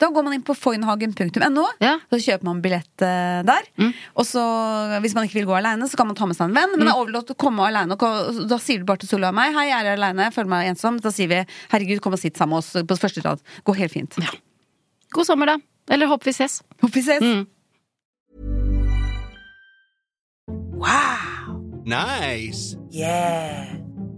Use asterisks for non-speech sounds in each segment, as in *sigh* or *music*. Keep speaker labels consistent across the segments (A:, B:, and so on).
A: Da går man inn på foynhagen.no,
B: Ja. Mm.
A: så kjøper man billett eh, der. Og så, hvis man ikke vil gå aleine, så kan man ta med seg en venn. Men det er overlatt å komme aleine. Da sier du bare til Solveig og meg 'Hei, jeg er aleine, føler meg ensom'. Da sier vi 'Herregud, kom og sitt sammen med oss på første rad'. Går helt fint.
B: God sommer, da. Eller håper vi ses.
A: Håper vi ses.
B: Mm.
C: Nice.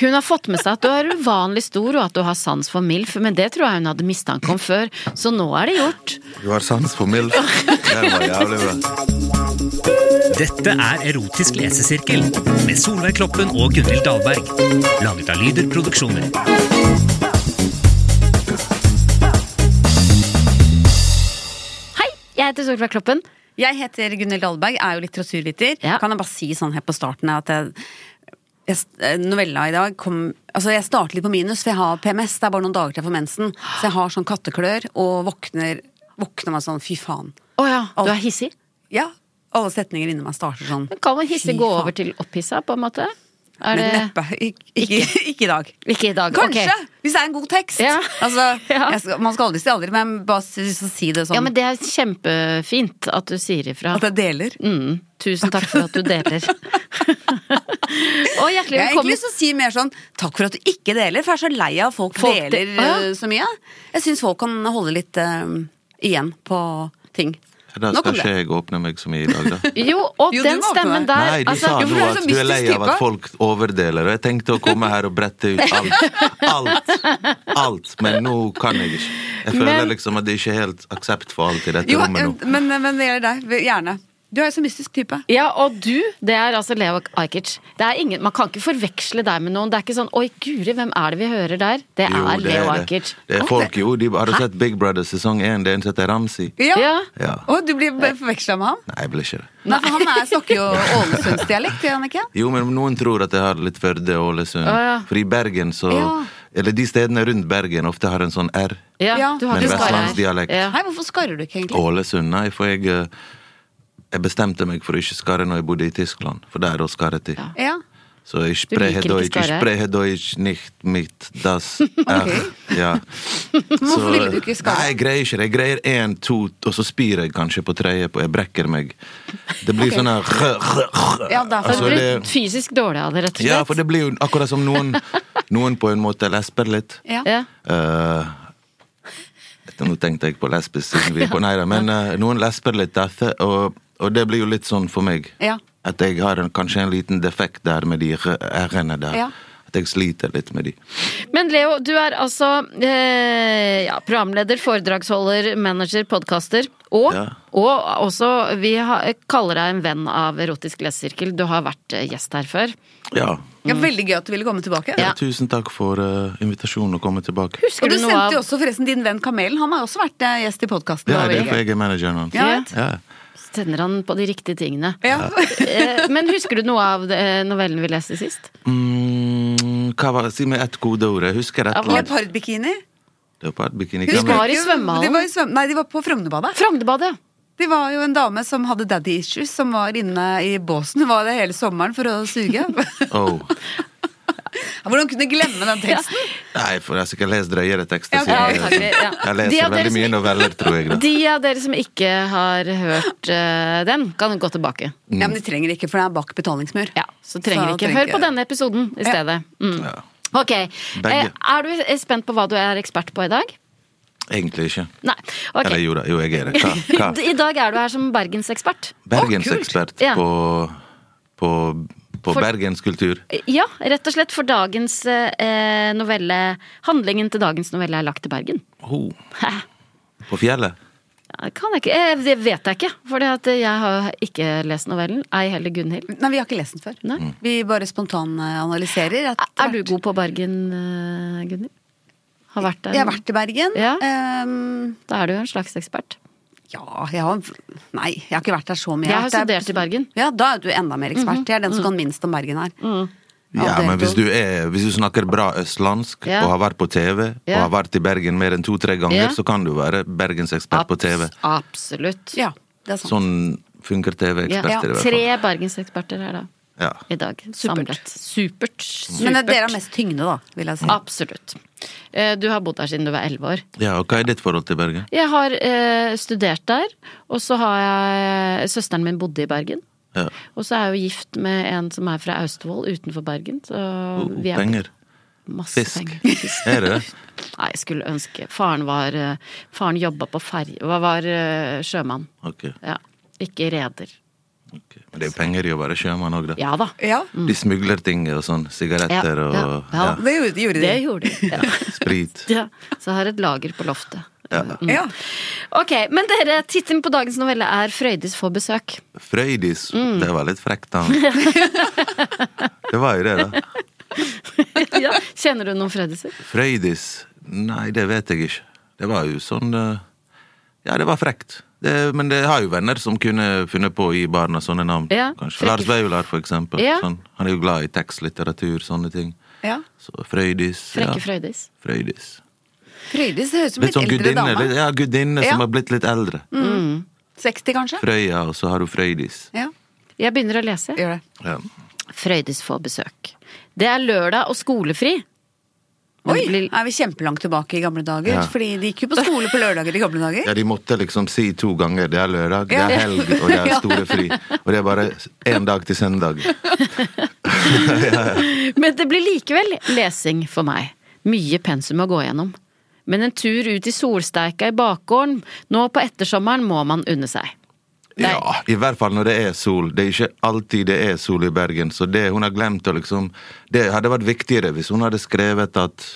B: Hun har fått med seg at du er uvanlig stor, og at du har sans for MILF, men det tror jeg hun hadde mistanke om før, så nå er det gjort.
D: Du har sans for milf. Det var jævlig bra.
E: Dette er Erotisk lesesirkel med Solveig Kloppen og Gunhild Dahlberg. Laget av Lyder Produksjoner.
B: Hei, jeg heter Solveig Kloppen.
A: Jeg heter Gunhild Dahlberg, er jo litteraturviter.
B: Ja.
A: Kan jeg bare si sånn her på starten at jeg, jeg, eh, novella i dag kom Altså, jeg starter litt på minus, for jeg har PMS. Det er bare noen dager til jeg får mensen. Så jeg har sånn katteklør og våkner, våkner meg sånn fy faen.
B: Å ja, du er hissig?
A: Ja. Alle setninger inni meg starter sånn.
B: Men Kan man hisse
A: fy
B: gå
A: faen.
B: over til opphissa, på en måte? Er
A: Men
B: det
A: neppe. Ikke, ikke, *laughs* ikke i dag.
B: Ikke i dag.
A: Kanskje!
B: ok.
A: Hvis det er en god tekst.
B: Ja.
A: Altså,
B: *laughs* Ja.
A: jeg skal, man skal aldri si aldri, men bare si, si det sånn
B: Ja, men det er kjempefint at du sier ifra.
A: at jeg deler.
B: Mm, tusen takk for at du
A: *laughs*
B: deler. og hjertelig
A: Jeg har egentlig
B: velkommen.
A: lyst til å si mer sånn takk for at du ikke deler, for jeg er så lei av at folk,
B: Folk de-
A: deler
B: Å, ja.
A: eh, så mye. Jeg syns folk kan holde litt eh, igjen på ting.
D: Da
A: Nå
D: skal
A: kom det.
D: ikke jeg åpne meg så mye i
A: *laughs*
D: dag, da.
B: Jo, og
A: Jo, du
B: den
A: må åpne
B: stemmen
A: deg.
B: der altså,
D: Nei, du sa
A: jo, for
D: nå
A: du altså, er
D: at
A: så
D: du er lei
A: mystisk
D: av at
A: type.
D: folk overdeler, og jeg tenkte å komme her og brette ut alt. Alt. alt, Men nå kan jeg ikke. Jeg føler
B: Men-
D: liksom at det ikke er helt aksept for alt i dette
A: Jo,
D: rommet nå.
A: eh, men, men det gjelder deg. Gjerne. Du er jo så mystisk type.
B: Ja, og du, det er altså Leo Ajkic. Det er ingen, man kan ikke forveksle deg med noen. Det er ikke sånn 'oi, guri, hvem er det vi hører der?' Det er
D: Jo, det
B: Leo
D: er det.
B: Ajkic.
D: Det er folk, jo. De, har du sett Big Brother sesong én? Det er en som heter Ramsi.
A: Ja.
B: Ja.
D: Ja.
A: Og du blir forveksla med han?
D: Nei, jeg blir ikke det.
A: Nei, for han
B: *laughs*
A: er, snakker jo Ålesundsdialekt, gjør han ikke?
D: Jo, men noen tror at jeg har litt Førde og Ålesund.
B: ja.
D: For i Bergen så
A: Ja.
D: Eller de stedene rundt Bergen ofte har en sånn R.
B: Ja,
A: Ja.
B: du har
A: Men
B: ikke skarre her.
D: vestlandsdialekt.
B: Ja.
A: Nei, hvorfor skarrer du ikke egentlig?
D: Ålesund, nei, for jeg eh, Jeg bestemte meg for å ikke skarre når jeg bodde i Tyskland, for der er det skarret i.
A: Ja.
D: Så jeg
B: Du liker
D: spreche
B: ikke
D: Deutsch, ich
B: skarre?
D: spreche Deutsch nicht mit
A: *laughs*
D: das R. Ja.
A: hvorfor
D: Så-
A: ville du ikke skarre?
D: Nei, jeg greier ikke det. Jeg greier én, to, og så spyr jeg kanskje på tredje, på- jeg brekker meg. Det blir sånn her
A: Ja,
B: Så
A: derfor
D: Altså,
B: du blir
D: det-
B: fysisk dårlig av det, rett og slett.
D: Ja, for det blir jo akkurat som noen
A: *laughs*
D: Noen på en måte lesper litt.
A: Ja.
B: Ja.
D: Eh, etter, nå tenkte jeg på lesbisk siden vi er på Nei da, men eh, noen lesper litt dette, og, og det blir jo litt sånn for meg.
A: Ja.
D: At jeg har en, kanskje en liten defekt der med de r-ene der.
A: Ja.
D: At jeg sliter litt med de.
B: Men Leo, du er altså eh, ja, programleder, foredragsholder, manager, podkaster. Og,
D: Ja.
B: og også Vi har, kaller deg en venn av Erotisk lesesirkel. Du har vært eh, gjest her før.
D: Ja.
A: Ja, veldig gøy at du ville komme tilbake.
B: Ja.
D: Tusen takk for eh, invitasjonen å komme tilbake.
B: Husker
A: Og du
B: du, noe
A: sendte
B: av
A: jo også forresten din venn Kamelen. Han har også vært eh, gjest i podkasten.
D: Ja, det er for jeg er manageren hans.
A: Ja.
D: Ja.
B: Sender han på de riktige tingene.
A: Ja.
B: Eh, Men husker du noe av eh, novellen vi leste sist?
D: Mm, hva var, si meg ett kodeord. Jeg husker et
B: Ja,
D: eller
A: *laughs*
D: annet.
A: Leopardbikini.
D: Leopardbikini.
A: Husker
B: var
D: Gamle-
B: i
A: du-
B: svømmehallen.
A: De var i svøm... Nei, de var på Frognerbadet.
B: Frognerbadet, ja.
A: Det var jo en dame som hadde daddy issues, som var inne i båsen. Hun var det hele sommeren for å
B: *laughs*
A: suge.
D: Oh.
A: Hvordan kunne jeg glemme den teksten?
D: Nei, for jeg skal lese drøyere
A: Ja,
D: tekster.
A: ok.
D: siden
B: Ja, takk,
D: jeg,
B: ja.
D: jeg
B: De av
D: leser
B: dere
D: veldig
B: som
D: mye noveller, tror jeg. Da.
B: De av dere som ikke har hørt eh, den, kan gå tilbake.
A: Ja, men de trenger ikke, for det er bak betalingsmur.
B: Ja, så trenger
A: Så
B: ikke.
A: trenger
B: Hør
A: ikke
B: på
A: det.
B: denne episoden i stedet. Mm.
D: Ja.
B: Ok.
D: Begge.
B: Eh, er du spent på hva du er ekspert på i dag?
D: Egentlig ikke.
B: Nei. ok.
D: Eller jo da, jo jeg er det.
B: *laughs*
D: Hva? hva?
B: I dag er du her som bergensekspert.
D: Bergensekspert
B: Ja.
D: på, på, på
B: For-
D: bergenskultur.
B: Eh, Ja, rett og slett for dagens eh, novelle Handlingen til dagens novelle er lagt til Bergen. *laughs*
D: Oh.
B: Hæ?
D: På fjellet.
B: Ja, Det kan jeg ikke. Eh, det vet jeg ikke, for jeg har ikke lest novellen. Ei heller Gunhild.
A: Nei, vi har ikke lest den før.
B: Nei.
A: Vi bare spontananalyserer.
B: Er, er du god på Bergen, eh, Gunhild? Har vært der?
A: Jeg har vært i Bergen.
B: Ja.
A: Ehm,
B: Da er du jo en slags ekspert.
A: ja, jeg har Nei, jeg har ikke vært der så mye.
B: Jeg har
A: Det er-
B: studert i Bergen. Mhm.
A: Ja, da er du enda mer ekspert. Jeg er den som kan minst om Bergen her.
D: Ja,
A: det er
D: men hvis
A: godt.
D: du, er, hvis du snakker bra østlandsk
B: Ja.
D: og har vært på TV, og
B: Ja.
D: har vært i Bergen mer enn to-tre ganger,
B: Ja.
D: så kan du være bergensekspert på TV.
B: Abs- Absolutt.
A: Ja, det er sant.
D: Sånn funker
B: Ja.
D: TV-eksperter i hvert fall.
B: Tre bergenseksperter her da,
D: Ja.
B: i dag. Samlet. Supert. Supert.
A: Men eh, dere har mest tyngde, da, vil jeg si.
B: Ah, Absolutt. Eh, Du har bodd der siden du var elleve år.
D: ja, og hva er ditt forhold til Bergen?
B: Jeg har eh, studert der, og så har jeg Søsteren min bodde i Bergen.
D: Ja.
B: Og så er jeg jo gift med en som er fra Austevoll, utenfor Bergen. Så
D: Oh,
B: vi er
D: penger.
B: masse
D: Fisk.
B: penger. *laughs*
D: Er det det?
B: Nei, jeg skulle ønske Faren var eh, Faren jobba på ferje Var, var eh, sjømann.
D: Ok.
B: Ja. Ikke reder.
D: ok. Men det er jo penger i å være sjømann òg, da.
B: Ja da.
A: Ja,
D: De smugler ting og sånn. Sigaretter
B: Mm. Ja,
D: og
B: ja,
D: ja.
B: ja.
A: det gjorde, gjorde de.
B: Det gjorde de. *laughs* Ja.
D: sprit.
B: Ja. Så jeg har et lager på loftet. Eh, mm.
A: Ja.
B: Ok, men dere, tittelen på dagens novelle er 'Frøydis får besøk'. *laughs*
D: Frøydis.
B: Mm.
D: Det var litt frekt, da. det var jo det, da.
B: ja. Kjenner du noen Frøydiser?
D: Frøydis Nei, det vet jeg ikke. Det var jo sånn eh, Ja, det var frekt. Det, men det har jo venner som kunne funnet på å gi barna sånne navn.
B: Ja,
D: Kanskje
B: frekke-
D: Lars Vaular, for eksempel.
B: Ja.
D: Sånn, han er jo glad i tekstlitteratur, sånne ting.
A: Ja.
D: Så Frøydis.
B: Frekke Frøydis.
D: Frøydis.
A: Frøydis det høres ut som en
D: Litt sånn
A: eldre
D: gudinne.
A: dame.
D: Litt, ja, gudinne
A: Ja.
D: som har blitt litt eldre.
B: Mm.
A: 60, kanskje?
D: Frøya, og så har du Frøydis.
A: Ja,
B: Jeg begynner å lese.
A: gjør det.
D: Ja.
B: Frøydis får besøk. Det er lørdag og skolefri. Men
A: Oi,
B: det blir-
A: er vi kjempelangt tilbake i gamle dager?
D: Ja.
A: Fordi de gikk jo på skole på lørdager i gamle dager.
D: Ja, de måtte liksom si to ganger det er lørdag, det
A: Ja.
D: er helg,
B: *laughs*
D: og det er store fri. Og det er bare én dag til søndag.
B: Men det blir likevel lesing for meg. Mye pensum å gå gjennom. Men en tur ut i solsteika i bakgården nå på ettersommeren må man unne seg. Nei.
D: Ja, I hvert fall når det er sol. Det er ikke alltid det er sol i Bergen. Så det hun har glemt å liksom Det hadde vært viktigere hvis hun hadde skrevet at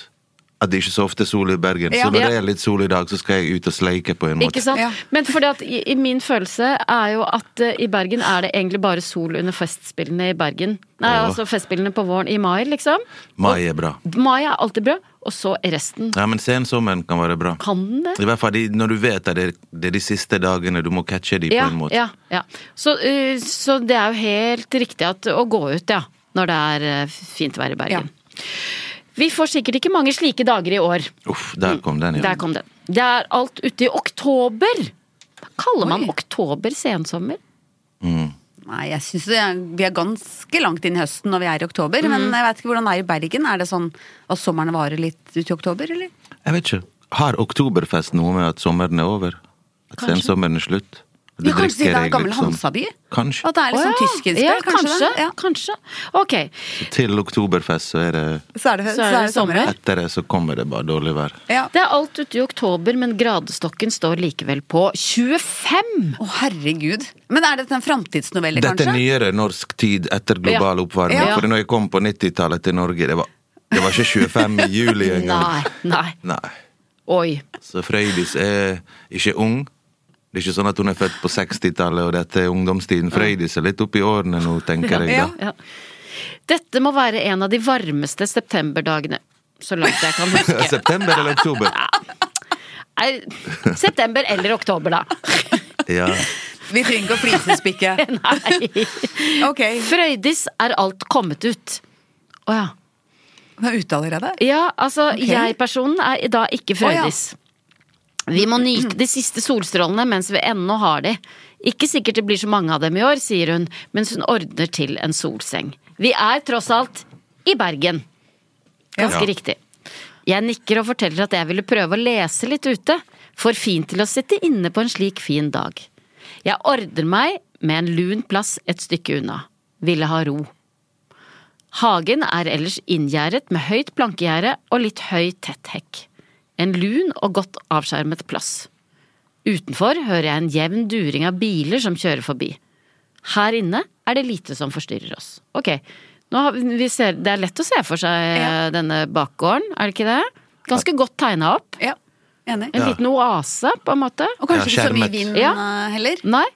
D: at det ikke så ofte er sol i Bergen.
A: Ja.
D: Så når
B: Ja.
D: det er litt sol i dag, så skal jeg ut og sleike på en måte.
B: Ikke sant?
A: Ja.
B: Men fordi at i, i min følelse er jo at eh, i Bergen er det egentlig bare sol under festspillene i Bergen. Nei,
D: Åh.
B: altså festspillene på våren i mai, liksom.
D: Mai er bra.
B: Mai er alltid bra, og så resten.
D: Ja, men sensommeren kan være bra.
B: Kan den det?
D: I hvert fall de, når du vet at det er, det er de siste dagene du må catche de
B: Ja,
D: på en måte.
B: ja, ja. Så, eh, så det er jo helt riktig at, å gå ut, ja. Når det er eh, fint vær i Bergen. Vi får sikkert ikke mange slike dager i år.
D: Uff, der kom den, ja.
B: Der kom den. Det er alt ute i oktober. Hva kaller man
A: Oi.
B: oktober sensommer?
A: Nei, jeg synes det er, Vi er ganske langt inn i høsten når vi er i oktober, men jeg vet ikke hvordan det er i Bergen. Er det sånn at sommeren varer litt ut i oktober, eller?
D: Jeg vet ikke. Har oktoberfest noe med at sommeren er over? At
B: Kanskje.
D: sensommeren er slutt? At du
A: Ja, kanskje siden det er
D: drikker
A: gammel
D: deg liksom-
A: Hansaby?
D: Kanskje.
A: At det er litt
B: Å
A: sånn
B: ja,
A: tyskinspill, kanskje?
B: kanskje,
A: det? Ja.
B: kanskje. Ok,
D: Til oktoberfest så er det
A: Så er det, så er det sommer her.
D: Etter det så kommer det bare dårlig vær.
A: Ja.
B: det er alt ute i oktober, men gradestokken står likevel på 25!
A: Å, herregud. Men er dette en framtidsnovelle,
D: Dette er
A: kanskje?
D: nyere norsk tid etter global
B: Ja.
D: oppvarming.
B: Ja.
D: For når jeg kom på 90-tallet til Norge, det var Det var ikke 25. juli engang.
B: Nei,
A: *laughs*
B: nei.
D: Nei.
B: Oi.
D: Så Frøydis er ikke ung. Det er ikke sånn at hun er født på 60-tallet, og dette er ungdomstiden. Frøydis er litt oppi årene nå, tenker jeg.
A: Ja.
D: da.
B: Ja. Dette må være en av de varmeste septemberdagene, så langt jeg
D: *laughs*
B: kan huske.
D: September eller oktober?
A: *laughs*
B: Nei, september eller oktober, da. *laughs*
D: Ja.
A: Vi trenger ikke å flisespikke.
B: Nei.
A: Ok,
B: Frøydis er alt kommet ut. Å ja.
A: hun er ute allerede.
B: Ja, altså, jeg-personen er da ikke Frøydis. Vi må nyte de siste solstrålene mens vi ennå har de. Ikke sikkert det blir så mange av dem i år, sier hun mens hun ordner til en solseng. Vi er tross alt i Bergen. Ganske
D: Ja.
B: riktig. Jeg nikker og forteller at jeg ville prøve å lese litt ute. For fint til å sitte inne på en slik fin dag. Jeg ordner meg med en lun plass et stykke unna. Ville ha ro. Hagen er ellers inngjerdet med høyt plankegjerde og litt høy tett hekk. En lun og godt avskjermet plass. Utenfor hører jeg en jevn during av biler som kjører forbi. Her inne er det lite som forstyrrer oss. Ok, nå har vi, vi ser, Det er lett å se for seg eh,
A: Ja.
B: denne bakgården, er det ikke det? Ganske godt tegna opp.
A: Ja, enig.
B: En liten oase, på en måte.
A: Og kanskje
D: Ja,
A: ikke så mye
D: skjermet.
A: vind
B: Ja. Mm.
A: eh, heller.
B: Nei?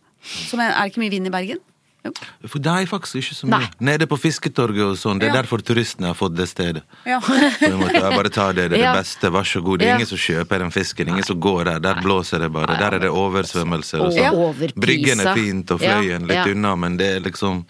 A: Som er, er det ikke mye vind i Bergen? Jo.
D: For det er faktisk ikke så mye.
B: Nei.
D: Nede på Fisketorget og sånn. Det er
A: Ja.
D: derfor turistene har fått det stedet.
A: Ja.
D: På en måte, jeg bare tar det, det er
B: Ja.
D: det beste, vær så god. Det er
B: Ja.
D: ingen som kjøper den fisken, ingen som går der. Der blåser det bare. Der er det oversvømmelser og
B: Ja.
D: sånn.
B: Overprisa.
D: Bryggen er fint, og
B: Ja.
D: fløyen litt
B: Ja.
D: unna, men det er liksom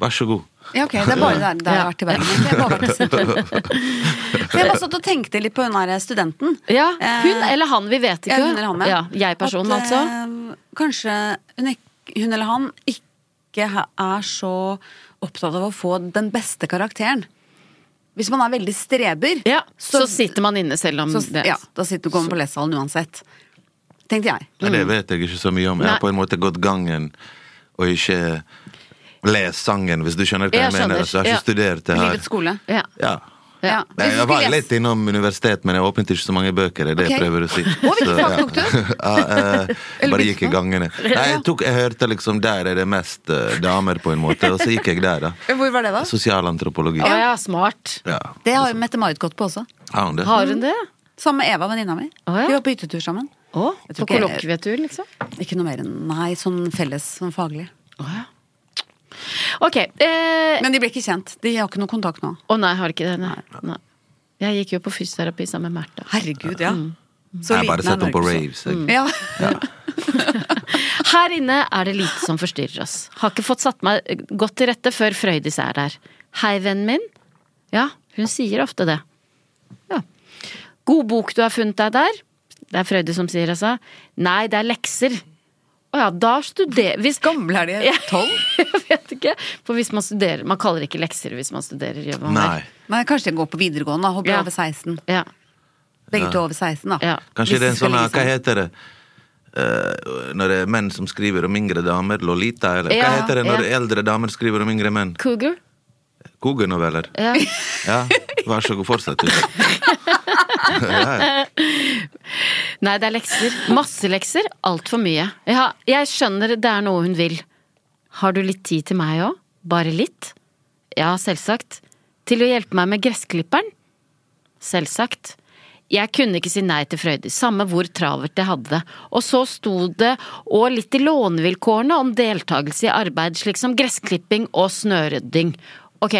D: Vær så god.
A: ja, ok. Det er bare der, der jeg har vært i Bergen. egentlig. Jeg har bare vært i
B: *laughs*
A: Sydbergen. For jeg bare satt og tenkte litt på hun her eh, studenten.
B: Ja,
A: Eh,
B: hun eller han, vi vet ikke.
A: Ja, hun eller han,
B: ja. Jeg-personen,
A: At,
B: altså.
A: eh, Kanskje hun, ikk- hun eller han ikke ha- er så opptatt av å få den beste karakteren. Hvis man er veldig streber,
B: Ja, så, sitter man inne selv om
A: så-
B: det.
A: ja, da sitter du kommer på lesesalen uansett. Tenkte jeg.
D: Ja, det vet jeg ikke så mye
B: Mm.
D: om. Jeg
B: Nei.
D: har på en måte gått gangen og ikke lest sangen, hvis du skjønner hva
B: Jeg
D: jeg, mener.
B: skjønner.
D: Så jeg har ikke studert det her.
A: Livets skole.
B: Ja.
D: Ja.
B: Ja.
D: Nei,
A: Hvis du
D: jeg var
A: skulle lese-
D: litt innom universitet, men jeg åpnet ikke så mange bøker. Det er det
A: Ok.
D: jeg prøver å si.
A: Å, hvilket fag tok du?
D: *laughs* ja, eh,
A: Eller
D: bare
A: hvilket
D: gikk
A: fag?
D: i gangene. Nei, jeg, tok, jeg hørte liksom der er det mest eh, damer, på en måte, og så gikk jeg
A: *laughs*
D: der, da.
A: Hvor var det, da?
D: Sosialantropologi.
B: Å ja, smart.
D: Ja.
A: Det har jo Mette-Marit gått på også.
D: Har hun det?
B: Har
A: Mhm.
B: hun det?
A: Sammen med Eva, venninna mi.
B: Å, ja.
A: Vi var på hyttetur sammen.
B: Å,
A: Jeg
B: på
A: tror ikke-
B: kollokvietur, liksom?
A: Ikke noe mer enn Nei, sånn felles, sånn faglig.
B: Ok. eh,
A: Men de ble ikke kjent. De har ikke noe kontakt nå.
B: Å nei, har ikke det. Nei. nei. Jeg gikk jo på fysioterapi sammen med Märtha.
A: Herregud, ja. Så
D: Jeg har bare
A: liten er
D: sett henne på
A: Norge, så. Mm.
D: raves. jeg.
A: Ja.
B: Her inne er det lite som forstyrrer oss. Har ikke fått satt meg godt til rette før Frøydis er der. Hei, vennen min. Ja, hun sier ofte det. Ja. God bok du har funnet deg der. Det er Frøydis som sier, altså. Nei, det er lekser. Å ja, da studerer Hvis
A: *laughs* Gamle er de?
B: Ja.
A: Tolv?
B: *laughs* Jeg vet ikke. For hvis man studerer Man kaller det ikke lekser hvis man studerer, gjør man
D: Nei.
B: det?
A: Nei, kanskje de går på videregående. da. Hopper
B: Ja.
A: over 16.
B: Ja.
A: Begge to over 16, da.
B: Ja.
A: Hvis
D: Kanskje det er
A: de
D: en
A: skal
D: sånn
A: ligge
D: Hva
A: sammen.
D: heter det? Eh, når det er menn som skriver om yngre damer? Lolita, eller? Hva
B: Ja,
D: heter det når
B: ja.
D: eldre damer skriver om yngre menn?
B: Cougar?
D: Kogernoveller?
B: Ja.
D: Ja, vær så god, fortsett. du.
B: Nei, det er lekser. Masse lekser. Altfor mye. Ja, jeg skjønner det er noe hun vil. Har du litt tid til meg òg? Bare litt? Ja, selvsagt. Til å hjelpe meg med gressklipperen? Selvsagt. Jeg kunne ikke si nei til Frøydis, samme hvor travelt jeg hadde det. Og så sto det, og litt i lånevilkårene, om deltakelse i arbeid slik som gressklipping og snørydding. Ok,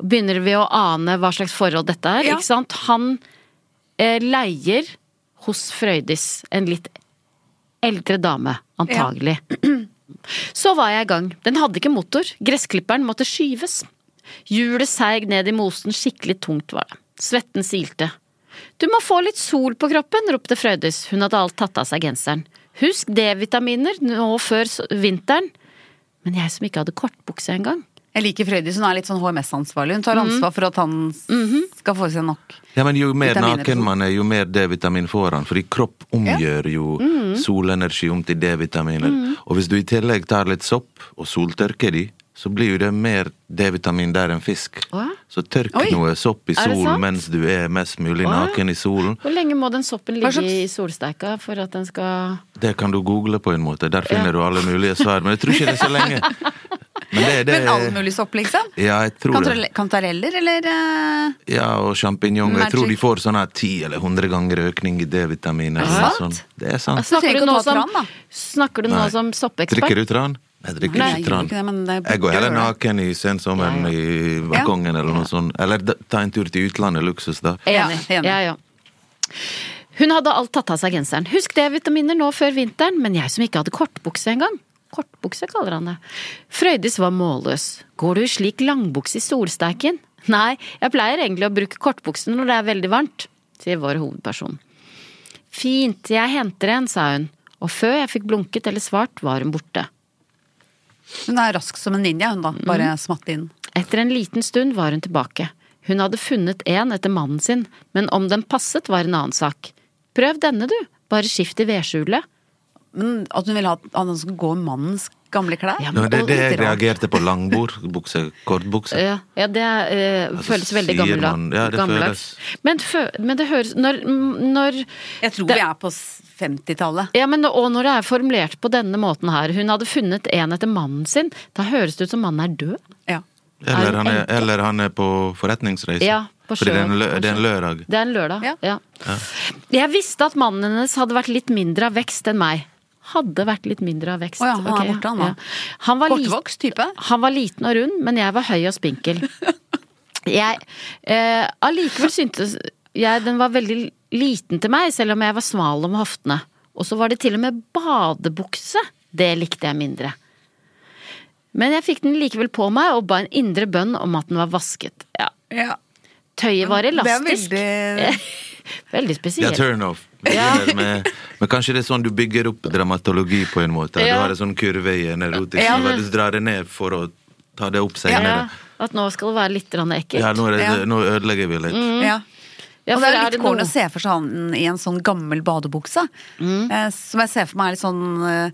B: begynner vi å ane hva slags forhold dette er,
A: Ja.
B: ikke sant? Han eh, leier hos Frøydis en litt eldre dame, antagelig. Så var jeg i gang. Den hadde ikke motor. Gressklipperen måtte skyves. Hjulet seig ned i mosen, skikkelig tungt var det. Svetten silte. Du må få litt sol på kroppen, ropte Frøydis. Hun hadde alt tatt av seg genseren. Husk D-vitaminer nå før s- vinteren. Men jeg som ikke hadde kortbukse engang.
A: Jeg liker Frøydis. Hun er litt sånn HMS-ansvarlig. Hun tar ansvar for at han s- skal få i seg nok.
D: Ja, men jo mer
A: Vitaminer.
D: naken man er, jo mer D-vitamin får han. Fordi kropp omgjør jo solenergi om til D-vitaminer. Og hvis du i tillegg tar litt sopp og soltørker de, så blir jo det mer D-vitamin der enn fisk.
B: Å ja.
D: Så tørk
A: Oi.
D: noe sopp i
B: Er det sant?
D: solen mens du er mest mulig
B: ja.
D: naken i solen.
B: Hvor lenge må den soppen ligge
A: slags-
B: i solsteika for at den skal
D: Det kan du google på en måte. Der finner du alle mulige svar. Men jeg tror ikke det er så lenge. Men det er det
A: Men all mulig sopp, liksom?
D: Ja, jeg tror
A: Kantarelle-
D: det.
A: Kantareller, eller eh,
D: Ja, og sjampinjonger. Jeg tror de
A: Magic.
D: får sånn her ti eller hundre ganger økning i D-vitamin. eller
A: Er det
D: noe
A: sant?
D: sånt. Det er sant.
A: Du Altså, trenger
B: Snakker du
A: ikke
B: nå
A: å ta
B: som,
A: tran, da.
B: snakker du nå
D: Nei.
B: som soppekspert?
D: Drikker du tran? Jeg drikker
A: Nei, jeg
D: ikke
A: gjør
D: tran.
A: ikke det, men det burde
D: jeg går heller
A: gjøre det.
D: naken i sensommeren
B: Ja,
D: i balkongen eller noe sånt. Eller d- ta en tur til utlandet, luksus, da.
B: Enig.
A: Ja, enig.
B: Ja, ja. Hun hadde alt tatt av seg genseren. Husk D-vitaminer nå før vinteren, men jeg som ikke hadde kortbukse engang. Kortbukse kaller han det. Frøydis var målløs. Går du i slik langbukse i solsteiken? Nei, jeg pleier egentlig å bruke kortbukse når det er veldig varmt, sier vår hovedperson. Fint, jeg henter en, sa hun, og før jeg fikk blunket eller svart, var hun borte.
A: Hun er rask som en ninja, hun da. Bare smatt inn.
B: Etter en liten stund var hun tilbake. Hun hadde funnet en etter mannen sin, men om den passet var en annen sak. Prøv denne, du. Bare skift i vedskjulet.
A: Men at hun vil ha at han skal gå i mannens gamle klær?
B: Ja, men-
D: Nå, det er
B: og
D: det jeg
A: litt rart.
D: reagerte på. Langbord, bukse, kortbukse.
B: Ja, ja det eh,
D: Altså,
B: føles veldig
D: sier
B: gammela-
D: man- ja, det
B: gammeldags. Men, fø- men det høres Når, når
A: Jeg tror
B: det-
A: vi er på s- 50-tallet.
B: ja, men Og når det er formulert på denne måten her Hun hadde funnet en etter mannen sin. Da høres det ut som mannen er død.
A: Ja.
B: Er
D: Eller
B: hun
D: han, er,
B: enke?
D: eller han er på forretningsreise.
B: Ja, på
D: Fordi det er en,
B: sjøen,
D: lø, det er
B: kanskje.
D: en lørdag.
B: Det er en lørdag.
A: Ja.
B: Ja. Jeg visste at mannen hennes hadde vært litt mindre av vekst enn meg. Hadde vært litt mindre av vekst.
A: Å ja, han er
B: Ok,
A: borte, han da.
B: Han var lit-
A: Kortvokst type.
B: Han var liten og rund, men jeg var høy og spinkel.
A: *laughs*
B: Jeg eh, Allikevel syntes jeg den var veldig liten til meg, selv om jeg var smal om hoftene. Og så var det til og med badebukse. Det likte jeg mindre. Men jeg fikk den likevel på meg og ba en indre bønn om at den var vasket. Ja,
A: Ja.
B: Tøyet var elastisk.
A: Det er veldig
B: *laughs* Veldig
D: Det
B: spesielt.
D: er turn-off. Begynner med- Men kanskje det er sånn du bygger opp dramatologi på en måte. Du
B: Ja.
D: har en sånn kurve i en erotisk
A: Ja,
D: novelle.
B: men-
D: Du drar det ned for å ta det opp
B: ja,
D: senere.
B: at nå skal det være litt grann ekkelt.
D: Ja, nå, er
A: Ja.
D: det, nå ødelegger vi litt.
B: Mm.
A: ja.
B: Ja,
A: og
B: for
A: det er jo litt
B: noe-
A: kålen å se for seg han i en sånn gammel badebukse.
B: Mm.
A: Eh, som jeg ser for meg er litt sånn eh,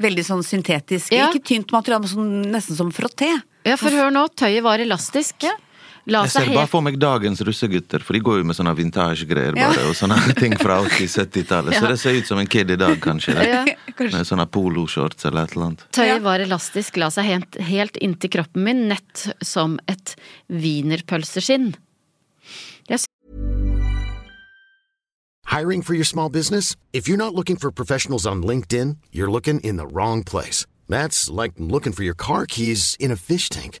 A: Veldig sånn syntetisk.
B: Ja.
A: Ikke tynt materiale, men sånn, nesten som frotté.
B: Ja, for hør nå, tøyet var elastisk. La
D: Jeg
B: seg
D: ser bare
B: helt
D: for meg dagens russegutter, for de går jo med sånne vintage-greier
A: Ja.
D: bare, og sånne *laughs* ting fra 80-70-tallet. Så det ser ut som en kid i dag, kanskje. da.
B: Ja.
D: Med sånne poloshorts eller et eller annet.
B: Tøyet var elastisk, la seg helt, helt inntil kroppen min, nett som et wienerpølseskinn.
C: Hiring for your small business? If you're not looking for professionals on LinkedIn, you're looking in the wrong place. That's like looking for your car keys in a fish tank.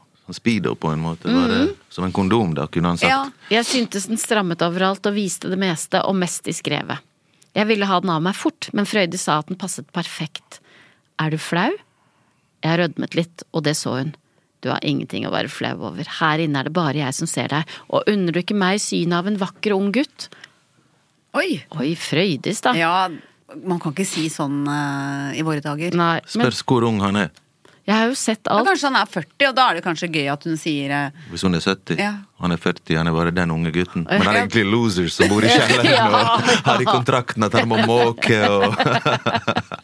D: Sånn Speedo, på en måte. Bare, som en kondom, da, kunne han
B: Sånn.
D: sagt.
A: Ja.
B: Jeg syntes den strammet overalt og viste det meste, og mest i skrevet. Jeg ville ha den av meg fort, men Frøyde sa at den passet perfekt. Er du flau? Jeg rødmet litt, og det så hun. Du har ingenting å være flau over, her inne er det bare jeg som ser deg, og unner du ikke meg synet av en vakker ung gutt?
A: Oi!
B: Oi, Frøydis, da.
A: Ja, man kan ikke si sånn eh, i våre dager.
B: Nei, men
D: Spørs hvor ung han er.
B: jeg har jo sett
A: Men
B: alt.
A: kanskje han er 40, og da er det kanskje gøy at hun sier eh,
D: Hvis hun er 70.
A: Ja.
D: Han er 40, han er bare den unge gutten. Men han er egentlig loser som bor i kjelleren og har i kontrakten at han må måke og *laughs*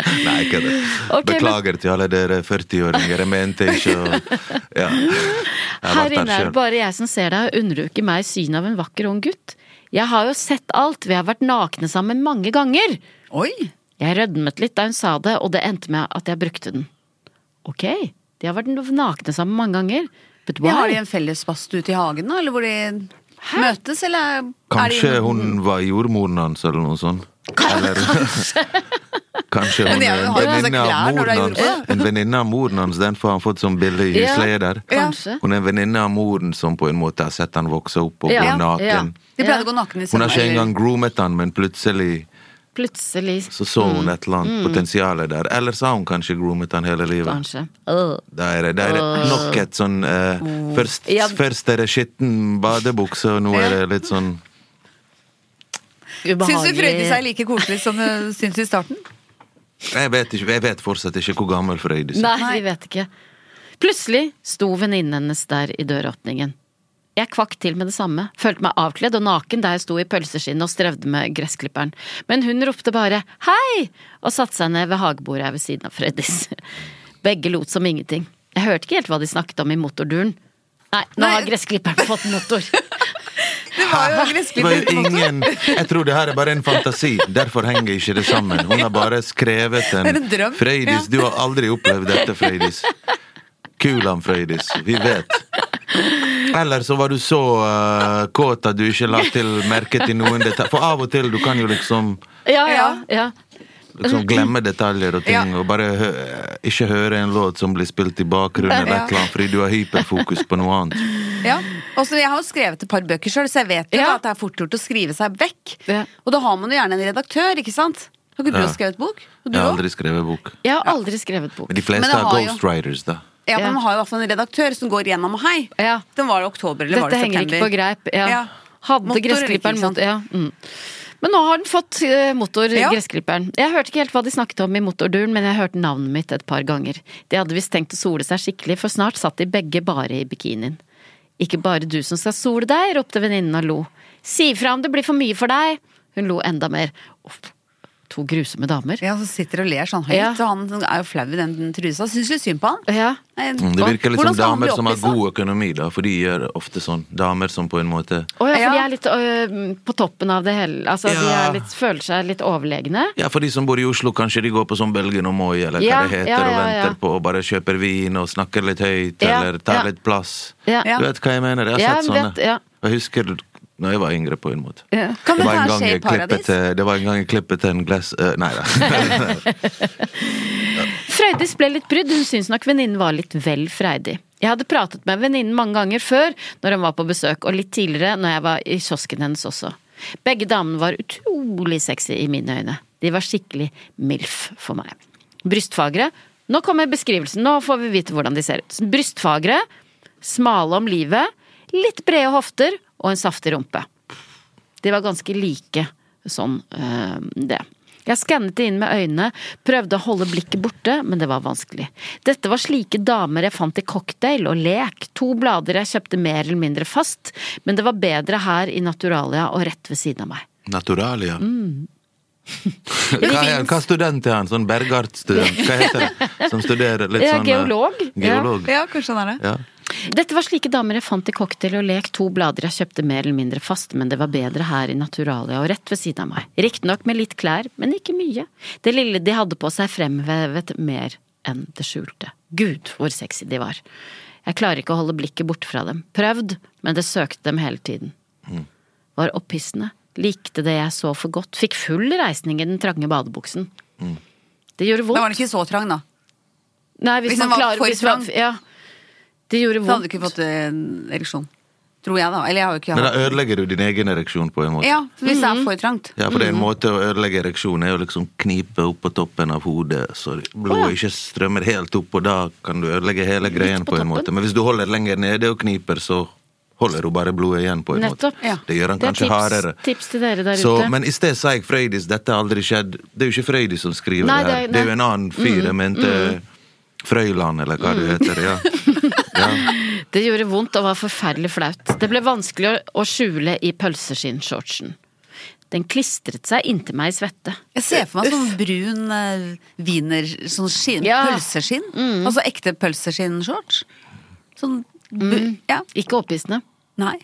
D: Nei, ikke det.
B: Ok, men-
D: Beklager til alle dere 40-åringer. Jeg mente ikke å ja. Jeg har
B: Her
D: vært
B: inne
D: der
B: er det
D: sjøl.
B: bare jeg som ser deg, og unner du ikke meg synet av en vakker ung gutt? Jeg har jo sett alt, vi har vært nakne sammen mange ganger.
A: Oi!
B: Jeg rødmet litt da hun sa det, og det endte med at jeg brukte den. Ok, de har vært nakne sammen mange ganger, but
A: Vi har de
B: why?
A: en felles badstue ute i hagen, da? Eller hvor de møtes, eller er de-
D: Kanskje hun var jordmoren hans eller noe sånt. Eller, *laughs* Kanskje
A: Men
D: hun
A: det er
D: er
A: jo-
D: en
A: har jo masse
D: venninne av
A: klær når du
D: moren
A: er
D: hans.
A: ute.
D: En venninne av moren hans, den får han fått som billig
B: Ja,
D: husleier.
B: kanskje.
D: Hun er en venninne av moren som på en måte har sett han vokse opp og gå
B: Ja,
D: naken.
B: ja.
A: De pleide å gå naken i
D: Hun
A: sommer,
D: har ikke
A: eller-
D: engang groomet han, men plutselig
B: Plutselig,
D: så så
A: Mm.
D: hun et eller annet potensial der. Eller så har hun kanskje groomet han hele livet.
B: kanskje. Øh.
D: Da er det, da er det nok et sånn eh,
A: Oh.
D: først,
B: Ja.
D: først er det skitten badebukse, og nå er det litt sånn
A: Syns du
B: Ubehagelig.
A: Frøydis er like koselig som du syns i starten?
D: Jeg vet, ikke, jeg vet fortsatt ikke hvor gammel Frøydis er.
B: Nei, vi vet ikke. Plutselig sto venninnen hennes der i døråpningen. Jeg kvakk til med det samme, følte meg avkledd og naken der jeg sto i pølseskinnet og strevde med gressklipperen. Men hun ropte bare hei og satte seg ned ved hagebordet her ved siden av Freddys. *laughs* Begge lot som ingenting. Jeg hørte ikke helt hva de snakket om i motorduren. Nei, nå
A: Nei.
B: har gressklipperen fått *laughs* motor.
A: Det var jo
D: Det var
A: gressklippet
D: jo ingen Jeg tror det her er bare en fantasi. Derfor henger ikke det sammen. Hun har bare skrevet
A: Det er
D: en
A: en drøm.
D: Frøydis, du har aldri opplevd dette, Frøydis. Kulan, Frøydis. Vi vet. Eller så var du så eh, kåt at du ikke la til merke til noen detaljer. For av og til du kan jo liksom,
B: Ja, ja, ja.
D: liksom glemme detaljer og ting,
A: Ja.
D: og bare hø ikke høre en låt som blir spilt i bakgrunnen, eller
A: Ja.
D: et eller annet, fordi du har hyperfokus på noe annet.
A: Ja. Og så jeg har jo skrevet et par bøker sjøl, så jeg vet jo
B: Ja.
A: da at det er fort gjort å skrive seg vekk.
B: Ja.
A: Og da har man jo gjerne en redaktør, ikke sant? Har ikke du
D: Ja.
A: også skrevet bok? Og
D: Jeg
A: du
D: har
A: òg?
D: aldri skrevet bok.
B: Jeg har aldri skrevet bok.
D: Men de fleste
A: Men jeg
D: har
A: har jo-
D: ghostwriters, da.
A: Ja,
B: Ja.
A: men man har jo i hvert fall en redaktør som går gjennom og hei.
B: Ja.
A: Den var i oktober, eller var
B: Dette
A: det
B: henger
A: september?
B: ikke på greip. Ja.
A: Ja.
B: Hadde
A: Motor eller
B: gressklipperen
A: ikke,
B: mot
A: sant?
B: ja. mm. Men nå har den fått eh, motor,
A: Ja.
B: gressklipperen. Jeg hørte ikke helt hva de snakket om i motorduren, men jeg hørte navnet mitt et par ganger. De hadde visst tenkt å sole seg skikkelig, for snart satt de begge bare i bikinien. Ikke bare du som skal sole deg, ropte venninnen og lo. Si ifra om det blir for mye for deg! Hun lo enda mer. Uff, to grusomme damer.
A: Ja, så sitter og ler sånn høyt,
B: Ja.
A: og han er jo flau i den den trusa. Syns litt synd på han.
B: Ja.
A: Nei,
D: Mm, Det virker litt
A: hvordan
D: som
A: skal han bli
D: damer som har
A: opplyst, da?
D: god økonomi, da, for de gjør ofte sånn. Damer som på en måte
B: Å ja, for
A: Ja.
B: de er litt ø, på toppen av det hele. Altså, de
D: Ja.
B: er litt, føler seg litt overlegne.
D: Ja, for de som bor i Oslo, kanskje de går på sånn Belgien og Moi, eller hva
B: Ja,
D: det heter,
B: ja,
D: og
B: ja,
D: venter
B: ja.
D: på og bare kjøper vin og snakker litt høyt,
B: Ja,
D: eller tar
B: ja.
D: litt plass.
B: Ja.
D: Du vet hva jeg mener? Jeg
B: Ja,
D: har sett
B: jeg
D: sånne.
B: vet, ja.
D: Og Jeg husker når jeg var yngre, på en måte.
A: Kan
D: Det
A: dette
D: var, en
A: her
D: gang
A: skje i
D: jeg klippet,
A: paradis?
D: til- det var en gang jeg klippet til en glass eh, Nei da.
B: Frøydis ble litt brydd, hun syntes nok venninnen var litt vel freidig. Jeg hadde pratet med venninnen mange ganger før når hun var på besøk, og litt tidligere når jeg var i kiosken hennes også. Begge damene var utrolig sexy i mine øyne. De var skikkelig MILF for meg. Brystfagre. Nå kommer beskrivelsen, nå får vi vite hvordan de ser ut. Brystfagre, smale om livet, litt brede hofter og en saftig rumpe. De var ganske like sånn eh, det. Jeg skannet det inn med øynene, prøvde å holde blikket borte, men det var vanskelig. Dette var slike damer jeg fant i cocktail og lek, to blader jeg kjøpte mer eller mindre fast, men det var bedre her i Naturalia og rett ved siden av meg.
D: Naturalia. Mm.
B: *laughs*
D: Hva, er, hva student er han? Sånn Bergart-student? Hva heter det? Som studerer litt
B: Ja,
D: sånn eh,
B: geolog. Ja.
D: Geolog.
A: Ja, kanskje han er det.
D: Ja.
B: Dette var slike damer jeg fant i cocktail og lek, to blader jeg kjøpte mer eller mindre fast, men det var bedre her i Naturalia og rett ved siden av meg. Riktignok med litt klær, men ikke mye. Det lille de hadde på seg fremvevet mer enn det skjulte. Gud, hvor sexy de var. Jeg klarer ikke å holde blikket borte fra dem. Prøvd, men det søkte dem hele tiden. Var opphissende. Likte det jeg så for godt. Fikk full reisning i den trange badebuksen. Det gjorde
A: Da
B: vondt.
A: var den ikke så trang, da.
B: Nei, hvis,
A: Hvis den
B: man
A: var
B: klarer
A: for
B: hvis man-
A: trang.
B: Ja. Det gjorde
A: Da hadde du
B: vondt.
A: ikke fått eh, ereksjon. Tror jeg, da. Eller jeg har jo ikke
D: Men da
A: hatt
D: ødelegger du din egen ereksjon på en måte.
A: Ja, hvis
B: Mm.
A: det er for trangt.
D: Ja, for det er en måte å ødelegge ereksjon er å liksom knipe opp på toppen av hodet, så blodet ikke strømmer helt opp, og da kan du ødelegge hele greien på, en måte. Men hvis du holder lenger nede og kniper, så holder du bare blodet igjen på en
B: Nettopp.
D: måte. Det gjør han
B: Det er
D: kanskje
B: tips-
D: hardere.
B: tips til dere der
D: så,
B: ute.
D: Men i sted sa jeg Frøydis, dette har aldri skjedd. Det er jo ikke Frøydis som skriver
B: Nei,
D: det
B: det
D: her.
B: er-
D: Det er jo en
B: nei. Mm.
D: annen fyr, jeg mente Frøyland, eller hva det heter.
B: *laughs*
D: Ja. ja.
B: Det gjorde vondt og var forferdelig flaut. Det ble vanskelig å- å skjule i pølseskinnshortsen. Den klistret seg inntil meg i svette.
A: Jeg ser for meg sånn brun eh, wiener, sånn skinn,
B: Ja. Mm.
A: pølseskinn. Altså ekte pølseskinn-shorts. Sånn bu-
B: Mm.
A: Ja.
B: Ikke opphissende.
A: Nei.